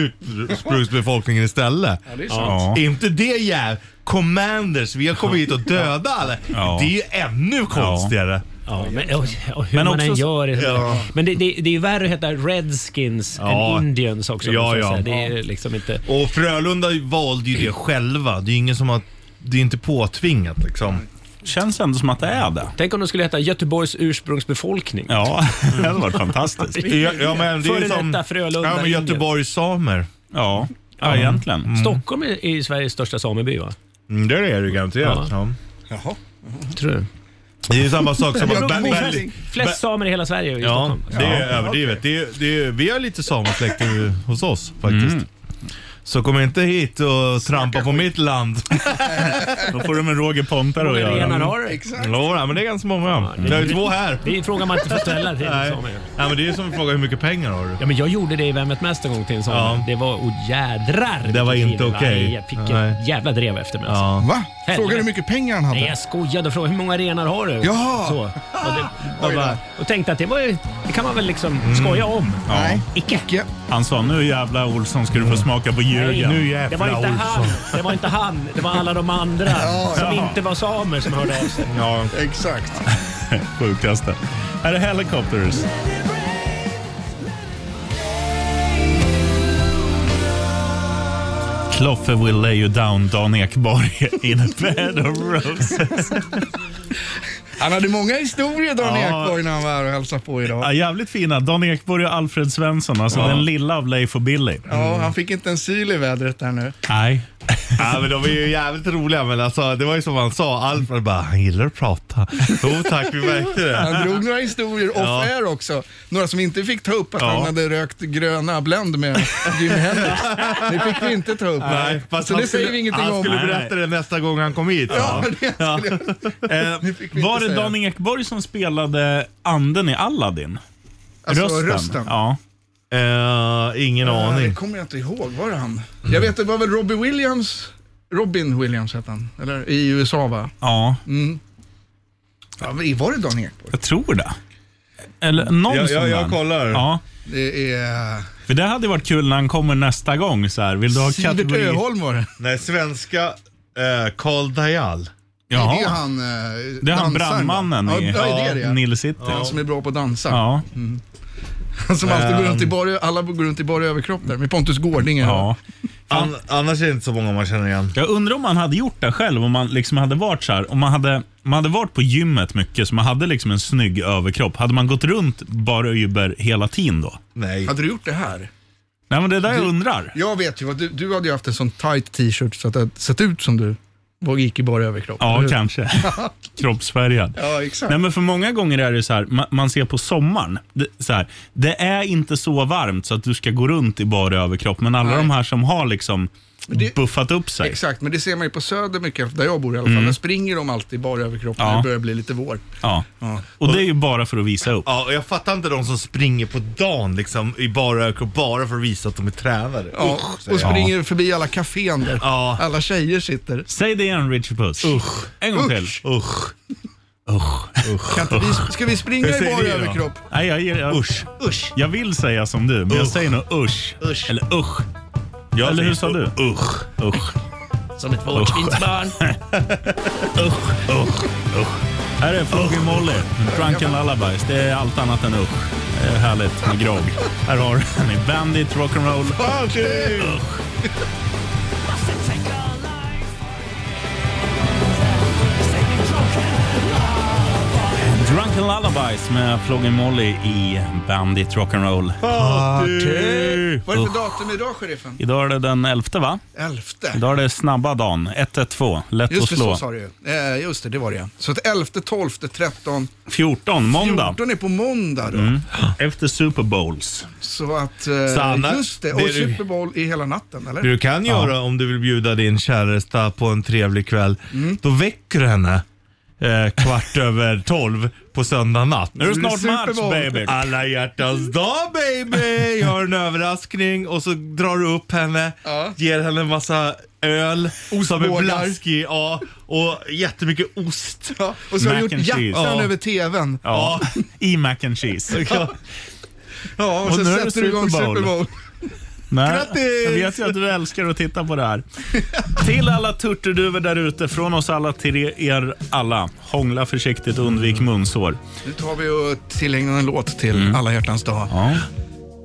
Speaker 2: ursprungsbefolkningen istället.
Speaker 1: Ja, det är sant.
Speaker 2: Är inte det jävligt? Commanders, vi har kommit hit och dödat alla.
Speaker 3: Ja.
Speaker 2: Det är ju ännu konstigare.
Speaker 3: Ja.
Speaker 10: Ja, men, och, och hur
Speaker 3: Men
Speaker 10: man
Speaker 3: också
Speaker 10: än
Speaker 3: så-
Speaker 10: gör det.
Speaker 3: Ja.
Speaker 10: Men det, det, det är ju värre att heta Redskins
Speaker 2: Ja.
Speaker 10: än Indians också.
Speaker 2: Ja,
Speaker 10: måste jag
Speaker 2: ja.
Speaker 10: säga. Det är liksom inte...
Speaker 2: Och Frölunda valde ju det själva. Det är ju ingen som har... Det är inte påtvingat liksom.
Speaker 4: Mm.
Speaker 3: Känns ändå som att det är det.
Speaker 10: Tänk om de skulle heta Göteborgs ursprungsbefolkning.
Speaker 3: Ja, det hade varit fantastiskt.
Speaker 2: Ja, ja, men det är
Speaker 10: Före
Speaker 2: ju som...
Speaker 10: detta Frölunda,
Speaker 2: ja, men
Speaker 10: Indien.
Speaker 2: Göteborgs samer.
Speaker 3: Ja, ja egentligen.
Speaker 10: Stockholm är, är Sveriges största sameby va?
Speaker 2: Mm, det är det garanterat. Ja.
Speaker 4: Jaha.
Speaker 10: Tror du?
Speaker 2: Det är samma sak som
Speaker 10: Det
Speaker 2: att...
Speaker 10: beror på-
Speaker 2: Ber-
Speaker 10: flest-
Speaker 2: Berlin- Ber-
Speaker 10: Flest samer i hela Sverige är i
Speaker 2: Ja,
Speaker 10: Stockholm.
Speaker 2: det är överdrivet. Det är, det är, vi har lite samesläkt ju hos oss faktiskt. Så kom inte hit och trampa på mitt land.
Speaker 3: Då får du med Roger Pompero
Speaker 10: Hur många renar
Speaker 3: Mm.
Speaker 10: har du?
Speaker 2: Exakt. Ja, men det är ganska många.
Speaker 10: det-
Speaker 2: Vi har ju två här.
Speaker 10: Det är en fråga man inte får ställa till
Speaker 2: Nej.
Speaker 10: samer.
Speaker 2: Nej, men det är ju som att fråga hur mycket pengar har du?
Speaker 10: Ja, men jag gjorde det i Vem vet mest en gång till en sån.
Speaker 2: Ja.
Speaker 10: Det var, och jädrar
Speaker 2: Det var
Speaker 10: vilket
Speaker 2: inte
Speaker 10: liv.
Speaker 2: okej.
Speaker 10: Nej, Jag fick
Speaker 2: Nej.
Speaker 10: ett jävla drev efter mig.
Speaker 2: Ja.
Speaker 10: Alltså.
Speaker 4: Va? Frågar du hur mycket pengar han hade?
Speaker 10: Nej, jag skojade och frågade hur många renar har du?
Speaker 4: Jaha.
Speaker 10: Så. Och, det, och, bara, och tänkte att det, var, ju- det kan man väl liksom
Speaker 2: Mm.
Speaker 10: skoja om.
Speaker 3: Nej.
Speaker 10: Icke.
Speaker 3: Han sa nu jävla Olsson ska du få smaka på
Speaker 10: Nej,
Speaker 3: Jürgen.
Speaker 10: det var inte han. Det var inte han. Det var alla de andra som
Speaker 3: ja.
Speaker 10: inte var samer som hörde av sig.
Speaker 3: Ja,
Speaker 4: Exakt.
Speaker 3: sjukaste. Här är Helicopters. Kloffe will lay you down, Dan Ekborg, in a bed of roses.
Speaker 4: Han hade många historier, Dan
Speaker 3: Ja.
Speaker 4: Ekborg, när han var här och hälsade på idag.
Speaker 3: Ja, jävligt fina. Dan Ekborg och Alfred Svensson, alltså
Speaker 4: Ja.
Speaker 3: den lilla av Leif och Billy.
Speaker 4: Ja, han fick inte en syl i vädret där nu.
Speaker 3: Nej.
Speaker 2: Ja, men de är ju jävligt roliga men alltså, det var ju som han sa, Alfred bara han gillar att prata. Jo tack, vi märkte det.
Speaker 4: Han drog några historier
Speaker 2: Ja.
Speaker 4: off-air också. Några som inte fick ta upp att
Speaker 2: Ja.
Speaker 4: han hade rökt gröna Blend med Jimi Hendrix. Det fick vi inte ta upp.
Speaker 2: Nej, fast
Speaker 4: Så
Speaker 2: han
Speaker 4: det säger
Speaker 2: skulle-
Speaker 4: vi ingenting
Speaker 2: Han
Speaker 4: om.
Speaker 2: skulle
Speaker 4: Nej,
Speaker 2: berätta det nästa gång han kom hit.
Speaker 4: Ja, det
Speaker 3: Ja. Eh,
Speaker 4: vi
Speaker 3: var
Speaker 4: inte
Speaker 3: det
Speaker 4: säga.
Speaker 3: Dan Ekborg som spelade anden i Aladdin?
Speaker 4: Alltså, rösten?
Speaker 3: Ja.
Speaker 2: Eh, ingen
Speaker 4: Ja, Det kommer jag inte ihåg. Var det han? Jag vet, det var väl Robbie Williams? Robin Williams hette han, eller? I USA va?
Speaker 3: Ja,
Speaker 4: Mm. Ja, men var det Dan Ekborg?
Speaker 3: jag tror det. Eller någon
Speaker 4: Jag- jag-
Speaker 3: sån
Speaker 4: jag
Speaker 3: där.
Speaker 2: kollar.
Speaker 3: Ja.
Speaker 4: Det är...
Speaker 3: För det hade varit kul när han kommer nästa gång. Så här. Vill du ha
Speaker 4: Sivert
Speaker 3: kategori?
Speaker 4: Öholm var det.
Speaker 2: Nej, svenska eh, Carl Dajal.
Speaker 3: Jaha.
Speaker 4: Det är han eh,
Speaker 3: Det är
Speaker 4: dansaren,
Speaker 3: han
Speaker 4: va?
Speaker 3: brandmannen
Speaker 4: ja,
Speaker 3: i
Speaker 4: ja, det är det, ja.
Speaker 3: Nile City.
Speaker 4: Han som är bra på att dansa.
Speaker 3: Ja.
Speaker 4: Mm. Han som alltid går
Speaker 2: Ehm.
Speaker 4: runt i bar, alla går runt i bar överkropp där med Pontus Gårdinger.
Speaker 3: Ja.
Speaker 2: An- annars är det inte så många man känner igen.
Speaker 3: Jag undrar om man hade gjort det själv, om man liksom hade varit så här, om man hade, man hade varit på gymmet mycket, så man hade liksom en snygg överkropp. Hade man gått runt bara över hela tiden då?
Speaker 2: Nej.
Speaker 4: Hade du gjort det här?
Speaker 3: Nej, men det är där jag undrar.
Speaker 4: Jag vet ju vad du, du hade ju haft en sån tight t-shirt så att det hade sett ut som du var, gick i bara överkropp.
Speaker 3: Ja,
Speaker 4: eller hur?
Speaker 3: kanske. Kroppsfärgad.
Speaker 4: Ja, exakt.
Speaker 3: Nej, men för många gånger är det så här, man, man ser på sommaren, det, så här, det är inte så varmt så att du ska gå runt i bara överkropp, men alla
Speaker 4: Nej.
Speaker 3: de här som har liksom
Speaker 4: det-
Speaker 3: buffat upp sig.
Speaker 4: Exakt, men det ser man ju på Söder mycket, där jag bor i alla fall.
Speaker 3: Mm.
Speaker 4: Där springer de alltid i bara överkropp
Speaker 3: Ja.
Speaker 4: när det börjar bli lite vår.
Speaker 3: Ja. Och det är ju bara för att visa upp.
Speaker 2: Ja, och jag fattar inte de som springer på dagen liksom i bara överkropp bara för att visa att de är tränare.
Speaker 4: Ja,
Speaker 2: Usch, säger
Speaker 4: och
Speaker 2: jag.
Speaker 4: springer förbi alla kafén där.
Speaker 2: Ja.
Speaker 4: Alla tjejer sitter.
Speaker 3: Säg det igen, Richie Puss. Usch. En gång till.
Speaker 2: Usch. Usch.
Speaker 3: Usch.
Speaker 4: Kan inte vi, ska vi springa i bara överkropp?
Speaker 3: Nej, jag, jag, jag, usch.
Speaker 2: usch.
Speaker 3: Jag vill säga som du, men jag säger nog usch.
Speaker 2: Usch.
Speaker 3: Eller usch. Eller hur sa du? Usch. Usch.
Speaker 10: Som ett
Speaker 3: vårdsvinsbarn. usch. Usch. Usch. Här är Foggy Molly, Drunken Lullabies. Det är allt annat än usch. Det är härligt med grogg. Här har du den i Bandit Rock'n'Roll. Usch. Drunken Lullabies med Flogging Molly i Bandit Rock'n'Roll.
Speaker 4: Party! Vad är det
Speaker 3: Usch.
Speaker 4: för datum idag, sheriffen?
Speaker 3: Idag är det den 11 va?
Speaker 4: Elfte.
Speaker 3: Idag är det snabba dagen. 112. Lätt
Speaker 4: Just
Speaker 3: att
Speaker 4: det, så
Speaker 3: slå.
Speaker 4: sa du ju. Eh, just det, det var det ja. Så att 11, 12, 13,
Speaker 3: 14, måndag.
Speaker 4: 14 är på måndag då.
Speaker 3: Mm. Efter Super Bowls.
Speaker 4: Så att, eh,
Speaker 2: Sanna,
Speaker 4: just det.
Speaker 2: det
Speaker 4: Och
Speaker 2: du-
Speaker 4: Super Bowl i hela natten, eller?
Speaker 2: Det du kan göra om du vill bjuda din käresta på en trevlig kväll, då väcker du henne eh, kvart över tolv på söndag natt.
Speaker 3: Nu är det snart Super match, Bowl. baby.
Speaker 2: Alla hjärtans dag baby! Jag har en överraskning och så drar du upp henne, ger henne en massa öl som är
Speaker 4: Ostbågar.
Speaker 2: blaskig ja, och jättemycket ost.
Speaker 4: Och så har du gjort
Speaker 3: Mac and cheese.
Speaker 4: jackan
Speaker 3: Ja.
Speaker 4: över tvn.
Speaker 3: Ja, i mac and cheese.
Speaker 2: Ja.
Speaker 4: Ja, och,
Speaker 3: Och
Speaker 4: sen
Speaker 3: nu är det
Speaker 4: sätter du igång
Speaker 3: Super Bowl.
Speaker 4: Super Bowl.
Speaker 3: Nej,
Speaker 2: Grattis!
Speaker 3: Jag vet ju att du älskar att titta på det här. Till alla turturduvor där ute, från oss alla till er alla. Hångla försiktigt och undvik munsår.
Speaker 4: Nu tar vi och tillägnar en låt till
Speaker 3: Mm.
Speaker 4: alla hjärtans dag.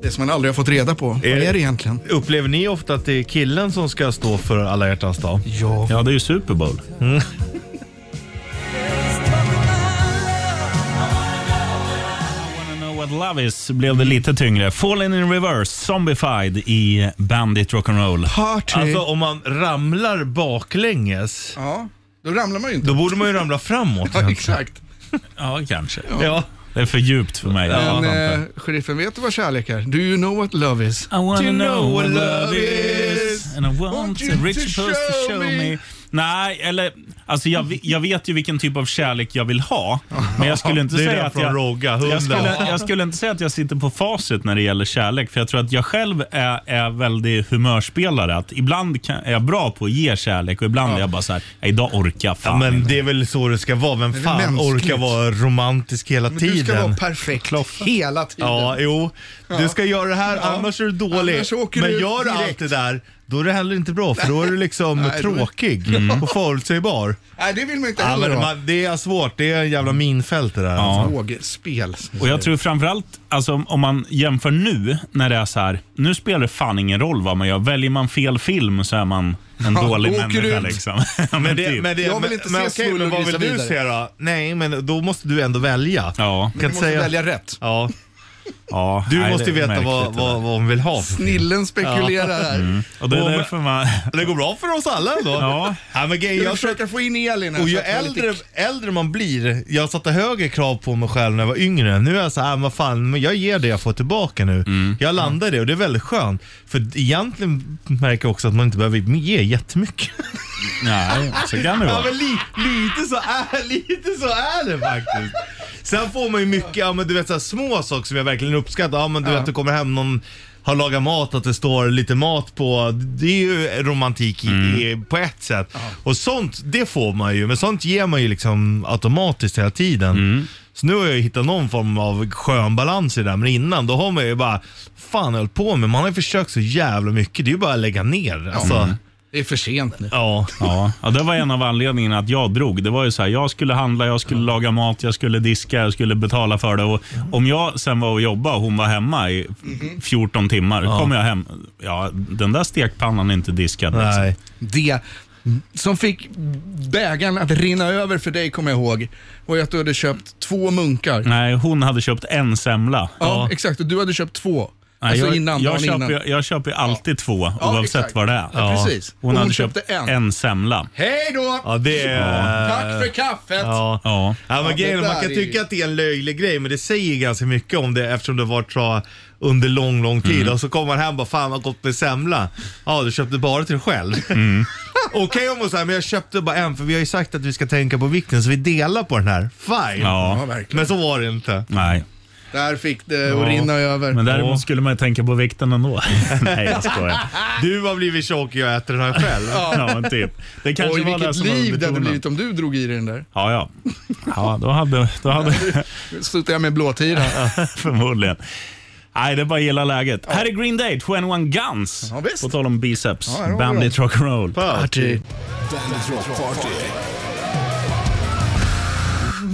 Speaker 4: Det som man aldrig har fått reda på. Vad är det egentligen?
Speaker 2: Upplever ni ofta att det är killen som ska stå för alla hjärtans dag?
Speaker 4: Ja.
Speaker 3: Ja, det är ju Super Bowl.
Speaker 2: Mm.
Speaker 3: Know What Love Is blev det lite tyngre. Fallen in Reverse, Zombified i Bandit Rock'n'Roll.
Speaker 2: Alltså om man ramlar baklänges.
Speaker 4: Ja, då ramlar man ju inte.
Speaker 2: Då borde man ju ramla framåt.
Speaker 4: Ja, exakt.
Speaker 3: Ja, kanske.
Speaker 2: Ja.
Speaker 3: Det är för djupt för mig. Jag
Speaker 4: Men
Speaker 3: fattar inte.
Speaker 4: eh, sheriffen, vet du vad kärlek är? Do you know what love is? I
Speaker 3: wanna know what love is. And I want,
Speaker 4: you
Speaker 3: a rich
Speaker 4: to
Speaker 3: supposed to
Speaker 4: show
Speaker 3: show
Speaker 4: me.
Speaker 3: me. Nej, eller alltså jag, vi- jag vet ju vilken typ av kärlek jag vill ha. Men jag skulle inte
Speaker 2: Det är
Speaker 3: säga
Speaker 2: den
Speaker 3: att
Speaker 2: från
Speaker 3: jag,
Speaker 2: Rogga, hunden.
Speaker 3: jag, skulle, jag skulle inte säga att jag sitter på facit när det gäller kärlek. För jag tror att jag själv är, är väldigt humörspelare. Att ibland kan, är jag bra på att ge kärlek och ibland är jag bara så här, "Nej, idag orkar jag fan
Speaker 2: Ja, men det är väl så det ska vara. Vem
Speaker 3: är väl
Speaker 2: fan
Speaker 3: mänskligt.
Speaker 2: orkar vara romantisk hela
Speaker 4: Men
Speaker 2: tiden?
Speaker 4: du ska vara perfekt hela tiden.
Speaker 2: Ja, jo. Du
Speaker 4: Ja.
Speaker 2: ska göra det här,
Speaker 4: Ja.
Speaker 2: annars är du dålig.
Speaker 4: Annars åker
Speaker 2: Men
Speaker 4: du
Speaker 2: gör du
Speaker 4: direkt.
Speaker 2: allt det där, då är det heller inte bra. För då är du liksom
Speaker 4: Nej, då är-
Speaker 2: tråkig
Speaker 4: Mm.
Speaker 2: och förutsägbar.
Speaker 4: Nej, det vill man inte
Speaker 2: Ja,
Speaker 4: heller
Speaker 2: men
Speaker 4: ha.
Speaker 2: man, det är svårt. Det är en jävla minfält det där. alltså.
Speaker 4: Vågspel.
Speaker 3: Och jag tror framförallt, alltså, om- om man jämför nu, när det är så här, nu spelar det fan ingen roll vad man gör. Väljer man fel film så är man en
Speaker 2: Ja,
Speaker 3: dålig
Speaker 2: då åker du
Speaker 3: människa.
Speaker 2: ut.
Speaker 3: Liksom. Ja,
Speaker 2: Men det,
Speaker 3: typ.
Speaker 2: men det, men, men, okej, men vad vill du se då? Nej, men då måste du ändå välja.
Speaker 3: Ja.
Speaker 4: Men du måste välja rätt.
Speaker 2: Ja.
Speaker 3: Ja,
Speaker 2: Du
Speaker 3: nej,
Speaker 2: måste
Speaker 3: det är
Speaker 2: veta vad,
Speaker 3: märkligt det
Speaker 2: vad, vad hon vill ha. för film.
Speaker 4: Snillen spekulerar här.
Speaker 3: Och det är därför man...
Speaker 2: Det går bra för oss alla ändå.
Speaker 3: Ja.
Speaker 2: Ja, men grejen,
Speaker 4: Jag
Speaker 2: jag tror
Speaker 4: försöker få in Elin här.
Speaker 2: Och
Speaker 4: så
Speaker 2: ju
Speaker 4: att jag är lite-
Speaker 2: äldre, äldre man blir, jag satte högre krav på mig själv när jag var yngre. Nu är jag så här, "Äh, vad fan, men jag ger det jag får tillbaka nu.
Speaker 3: Mm.
Speaker 2: Jag landar i det och det är väldigt skönt. För egentligen märker jag också att man inte behöver ge jättemycket.
Speaker 3: Nej, så kan det
Speaker 2: ja,
Speaker 3: vara.
Speaker 2: men li, lite, så är, lite så är det faktiskt. Sen får man ju mycket, ja, men du vet så här, små saker som jag verkligen uppskattar. Ja, men du vet, du kommer hem någon har lagat mat, att det står lite mat på. Det är ju romantik i, i, på ett sätt. Och sånt, det får man ju. Men sånt ger man ju liksom automatiskt hela tiden. Så nu har jag hittat någon form av skön balans i det där. Men innan, då har man ju bara, fan höll på med. Man har ju försökt så jävla mycket. Det är ju bara att lägga ner. Alltså,
Speaker 4: Det är för sent nu.
Speaker 2: ja.
Speaker 3: Ja. ja, det var en av anledningarna att jag drog. Det var ju så här, jag skulle handla, jag skulle laga mat, jag skulle diska, jag skulle betala för det. Och om jag sen var och jobbade och hon var hemma i
Speaker 2: Mhm.
Speaker 3: 14 timmar, kom jag hem. Ja, den där stekpannan är inte diskad. liksom.
Speaker 4: Det som fick bägaren att rinna över för dig, kommer jag ihåg, var ju att du hade köpt två munkar.
Speaker 3: Nej, hon hade köpt en semla.
Speaker 4: Ja, exakt. Och du hade köpt två.
Speaker 3: Nej,
Speaker 4: alltså
Speaker 3: jag,
Speaker 4: innan,
Speaker 3: jag,
Speaker 4: dagen
Speaker 3: köper,
Speaker 4: innan.
Speaker 3: ju- jag köper ju alltid två,
Speaker 4: Ja,
Speaker 3: oavsett
Speaker 4: exakt.
Speaker 3: vad det är.
Speaker 4: Ja, precis.
Speaker 3: Hon,
Speaker 4: Och
Speaker 3: hade
Speaker 4: hon
Speaker 3: köpt
Speaker 4: köpte
Speaker 3: en,
Speaker 4: en.
Speaker 3: semla.
Speaker 4: Hej då!
Speaker 2: Ja, det är... eh,
Speaker 4: Tack för kaffet!
Speaker 2: Ja.
Speaker 3: Ja.
Speaker 2: Ja, men
Speaker 4: Ja,
Speaker 2: grejen,
Speaker 4: det
Speaker 2: är, man
Speaker 4: där
Speaker 2: kan
Speaker 4: är
Speaker 2: tycka
Speaker 4: ju-
Speaker 2: att det är en löjlig grej, men det säger ganska mycket om det eftersom det har varit så under lång, lång tid. Och så kommer man hem och bara, fan vad gott med semla. Ja, du köpte bara till dig själv. Okej om man säger, men jag köpte bara en för vi har ju sagt att vi ska tänka på vikten så vi delar på den här. Fine.
Speaker 3: Ja. Ja,
Speaker 4: verkligen.
Speaker 2: men så var det inte.
Speaker 3: Nej.
Speaker 4: Där fick det att rinna över.
Speaker 3: Men däremot skulle man ju tänka på vikten ändå. Nej, jag skojar.
Speaker 2: Du har blivit tjock och jag äter den här själv.
Speaker 3: Ja, men typ. Det kanske
Speaker 4: Oj,
Speaker 3: var det
Speaker 4: vilket
Speaker 3: som var
Speaker 4: liv det hade
Speaker 3: betonen.
Speaker 4: blivit om du drog i dig den där.
Speaker 3: Ja, ja. ja då hade, då hade
Speaker 4: Slutade jag med blåtira.
Speaker 3: förmodligen. Nej, det är bara att gilla läget. Här är Green Day, 21 Guns.
Speaker 4: Ja, visst.
Speaker 3: På tal om biceps.
Speaker 4: Ja, här har vi
Speaker 3: Bandit
Speaker 4: dem.
Speaker 3: rock'n'roll.
Speaker 4: Party.
Speaker 1: Bandit Rock Party.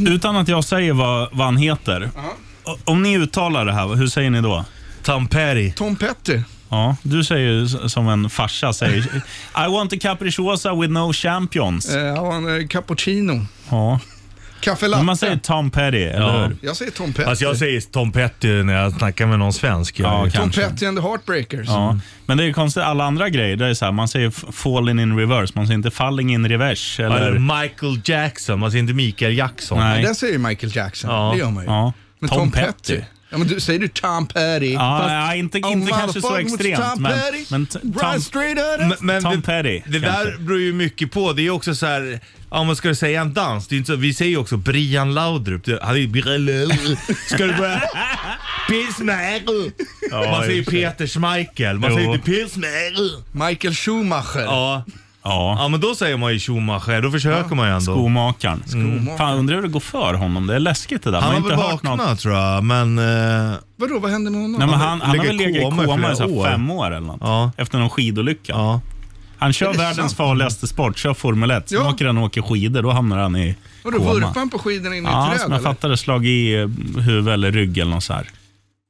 Speaker 3: Utan att jag säger vad, vad han heter.
Speaker 2: Uh-huh.
Speaker 3: O- Om ni uttalar det här, hur säger ni då?
Speaker 2: Tamperi.
Speaker 4: Tom Petty.
Speaker 3: Ja, du säger ju s- som en farsa säger. I want a capricciosa with no champions.
Speaker 4: Eh, Ja, en eh, cappuccino.
Speaker 3: Ja.
Speaker 4: Kaffe latte.
Speaker 3: Men man säger Tom Petty, eller
Speaker 2: Ja.
Speaker 3: hur?
Speaker 4: Jag säger Tom Petty.
Speaker 2: Alltså jag säger Tom Petty när jag snackar med någon svensk.
Speaker 3: Ja,
Speaker 2: Jag-
Speaker 4: Tom
Speaker 3: kanske.
Speaker 4: Petty and the Heartbreakers.
Speaker 3: Ja. Men det är ju konstigt, alla andra grejer, det är så här, man säger f- falling in reverse, man säger inte falling in reverse. Eller,
Speaker 2: Eller Michael Jackson, alltså inte Mikael Jackson.
Speaker 3: Nej.
Speaker 4: Den säger ju Michael Jackson.
Speaker 2: Ja.
Speaker 4: Det gör man ju.
Speaker 3: Ja.
Speaker 4: Men Tom, Petty. Ja, men du, säger du Tom Petty?
Speaker 3: Ja,
Speaker 4: Fast-
Speaker 3: ja, inte,
Speaker 4: Oh,
Speaker 3: inte kanske så
Speaker 4: motherfucker,
Speaker 3: extremt,
Speaker 4: Tom
Speaker 3: men,
Speaker 4: Petty.
Speaker 3: men t- Tom,
Speaker 4: Right straight at
Speaker 2: Men,
Speaker 4: us.
Speaker 2: men
Speaker 3: Tom
Speaker 2: det,
Speaker 3: Petty.
Speaker 2: det där
Speaker 3: kanske.
Speaker 2: beror ju mycket på. Det är ju också så här, ja man ska du säga en dans? Det är inte så, vi säger ju också Brian Laudrup. Det, han är ju... Ska du börja... Pilsner!
Speaker 3: Ja,
Speaker 2: man säger
Speaker 3: just det.
Speaker 2: Peter Schmeichel. Man
Speaker 3: Jo.
Speaker 2: säger typ inte Pilsner!
Speaker 4: Michael Schumacher.
Speaker 2: Ja.
Speaker 3: Ja,
Speaker 2: ja, men då säger man ju Schumacher. Då försöker man ju ändå.
Speaker 3: skomakaren.
Speaker 4: Skomakaren.
Speaker 3: Fan, undrar hur det går för honom. Det är läskigt det där.
Speaker 2: Han
Speaker 3: Man
Speaker 2: har
Speaker 3: har
Speaker 2: väl
Speaker 3: inte hört något.
Speaker 2: vaknat tror jag, men... eh,
Speaker 4: Vadå, vad hände med honom?
Speaker 3: Nej, men han, han har väl legat i koma i så här
Speaker 4: flera
Speaker 3: fem år eller något. Efter någon skidolycka. Han
Speaker 4: Är
Speaker 3: kör
Speaker 4: det
Speaker 3: världens
Speaker 4: sant?
Speaker 3: farligaste sport, kör Formel 1. Sen
Speaker 4: Ja.
Speaker 3: åker han och åker skidor, då hamnar han i
Speaker 4: Vadå,
Speaker 3: koma.
Speaker 4: vurpade han på skidorna in i
Speaker 3: Ja,
Speaker 4: ett träd
Speaker 3: som jag
Speaker 4: eller?
Speaker 3: fattade slag i eh, huvud eller rygg eller något så här.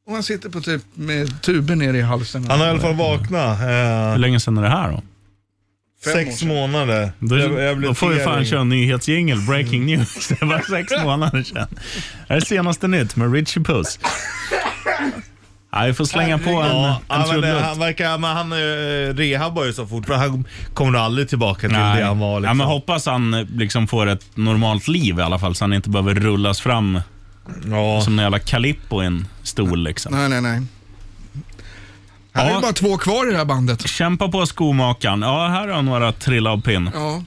Speaker 4: Och han sitter på typ med tuben nere i halsen.
Speaker 2: vaknat. eh,
Speaker 3: Hur länge sedan är det här då?
Speaker 4: Fem år
Speaker 2: Sex
Speaker 4: sedan.
Speaker 2: månader.
Speaker 3: Då,
Speaker 2: Jag- jag blev
Speaker 3: då får vi fan
Speaker 2: tering.
Speaker 3: köra en nyhetsjingel, breaking news. Det var sex månader sedan. Det här är senaste nytt med Richie Puss. Ja, vi får slänga på en,
Speaker 2: Ja,
Speaker 3: en
Speaker 2: ja, men, eh,
Speaker 3: trudelutt.
Speaker 2: han verkar, men han eh, rehabbar ju så fort. men Han kommer nog aldrig tillbaka till det han var.
Speaker 3: ja,
Speaker 2: Liksom.
Speaker 3: men hoppas han eh, liksom får ett normalt liv i alla fall, så han inte behöver rullas fram som en jävla Calippo i en stol. Liksom.
Speaker 4: Nej, nej, nej. Han är ju bara två kvar i det här bandet.
Speaker 3: Kämpa på skomakaren. Ja, här har jag några trill av pinn.
Speaker 4: Ja.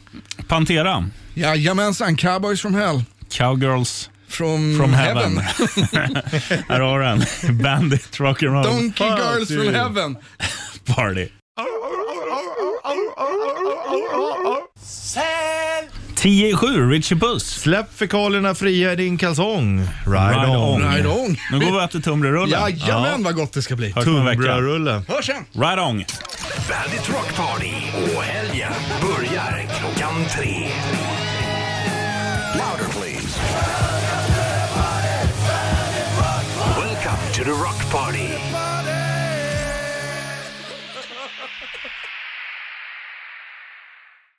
Speaker 3: Pantera.
Speaker 4: Jajamensan, Cowboys from Hell.
Speaker 3: Cowgirls
Speaker 4: from,
Speaker 2: Mm,
Speaker 3: from
Speaker 4: heaven.
Speaker 3: heaven. här har du den. Bandit rock'n'roll.
Speaker 4: Donkey Girls from Heaven.
Speaker 3: Party. 10 i 7, Richie Puss.
Speaker 2: Släpp fekalierna fria i din kalsong. Ride,
Speaker 3: Ride
Speaker 2: on.
Speaker 3: on. Ride on. Nu går vi och äter tunnbrödsrullen.
Speaker 4: Jajamän,
Speaker 2: Ja.
Speaker 4: vad gott det ska bli.
Speaker 3: Hörs om en vecka.
Speaker 2: Tunnbrödsrulle.
Speaker 4: Hörs sen.
Speaker 3: Right on.
Speaker 1: Bandit Rock Party och helgen börjar klockan tre. Louder please. Welcome to the Rock Party.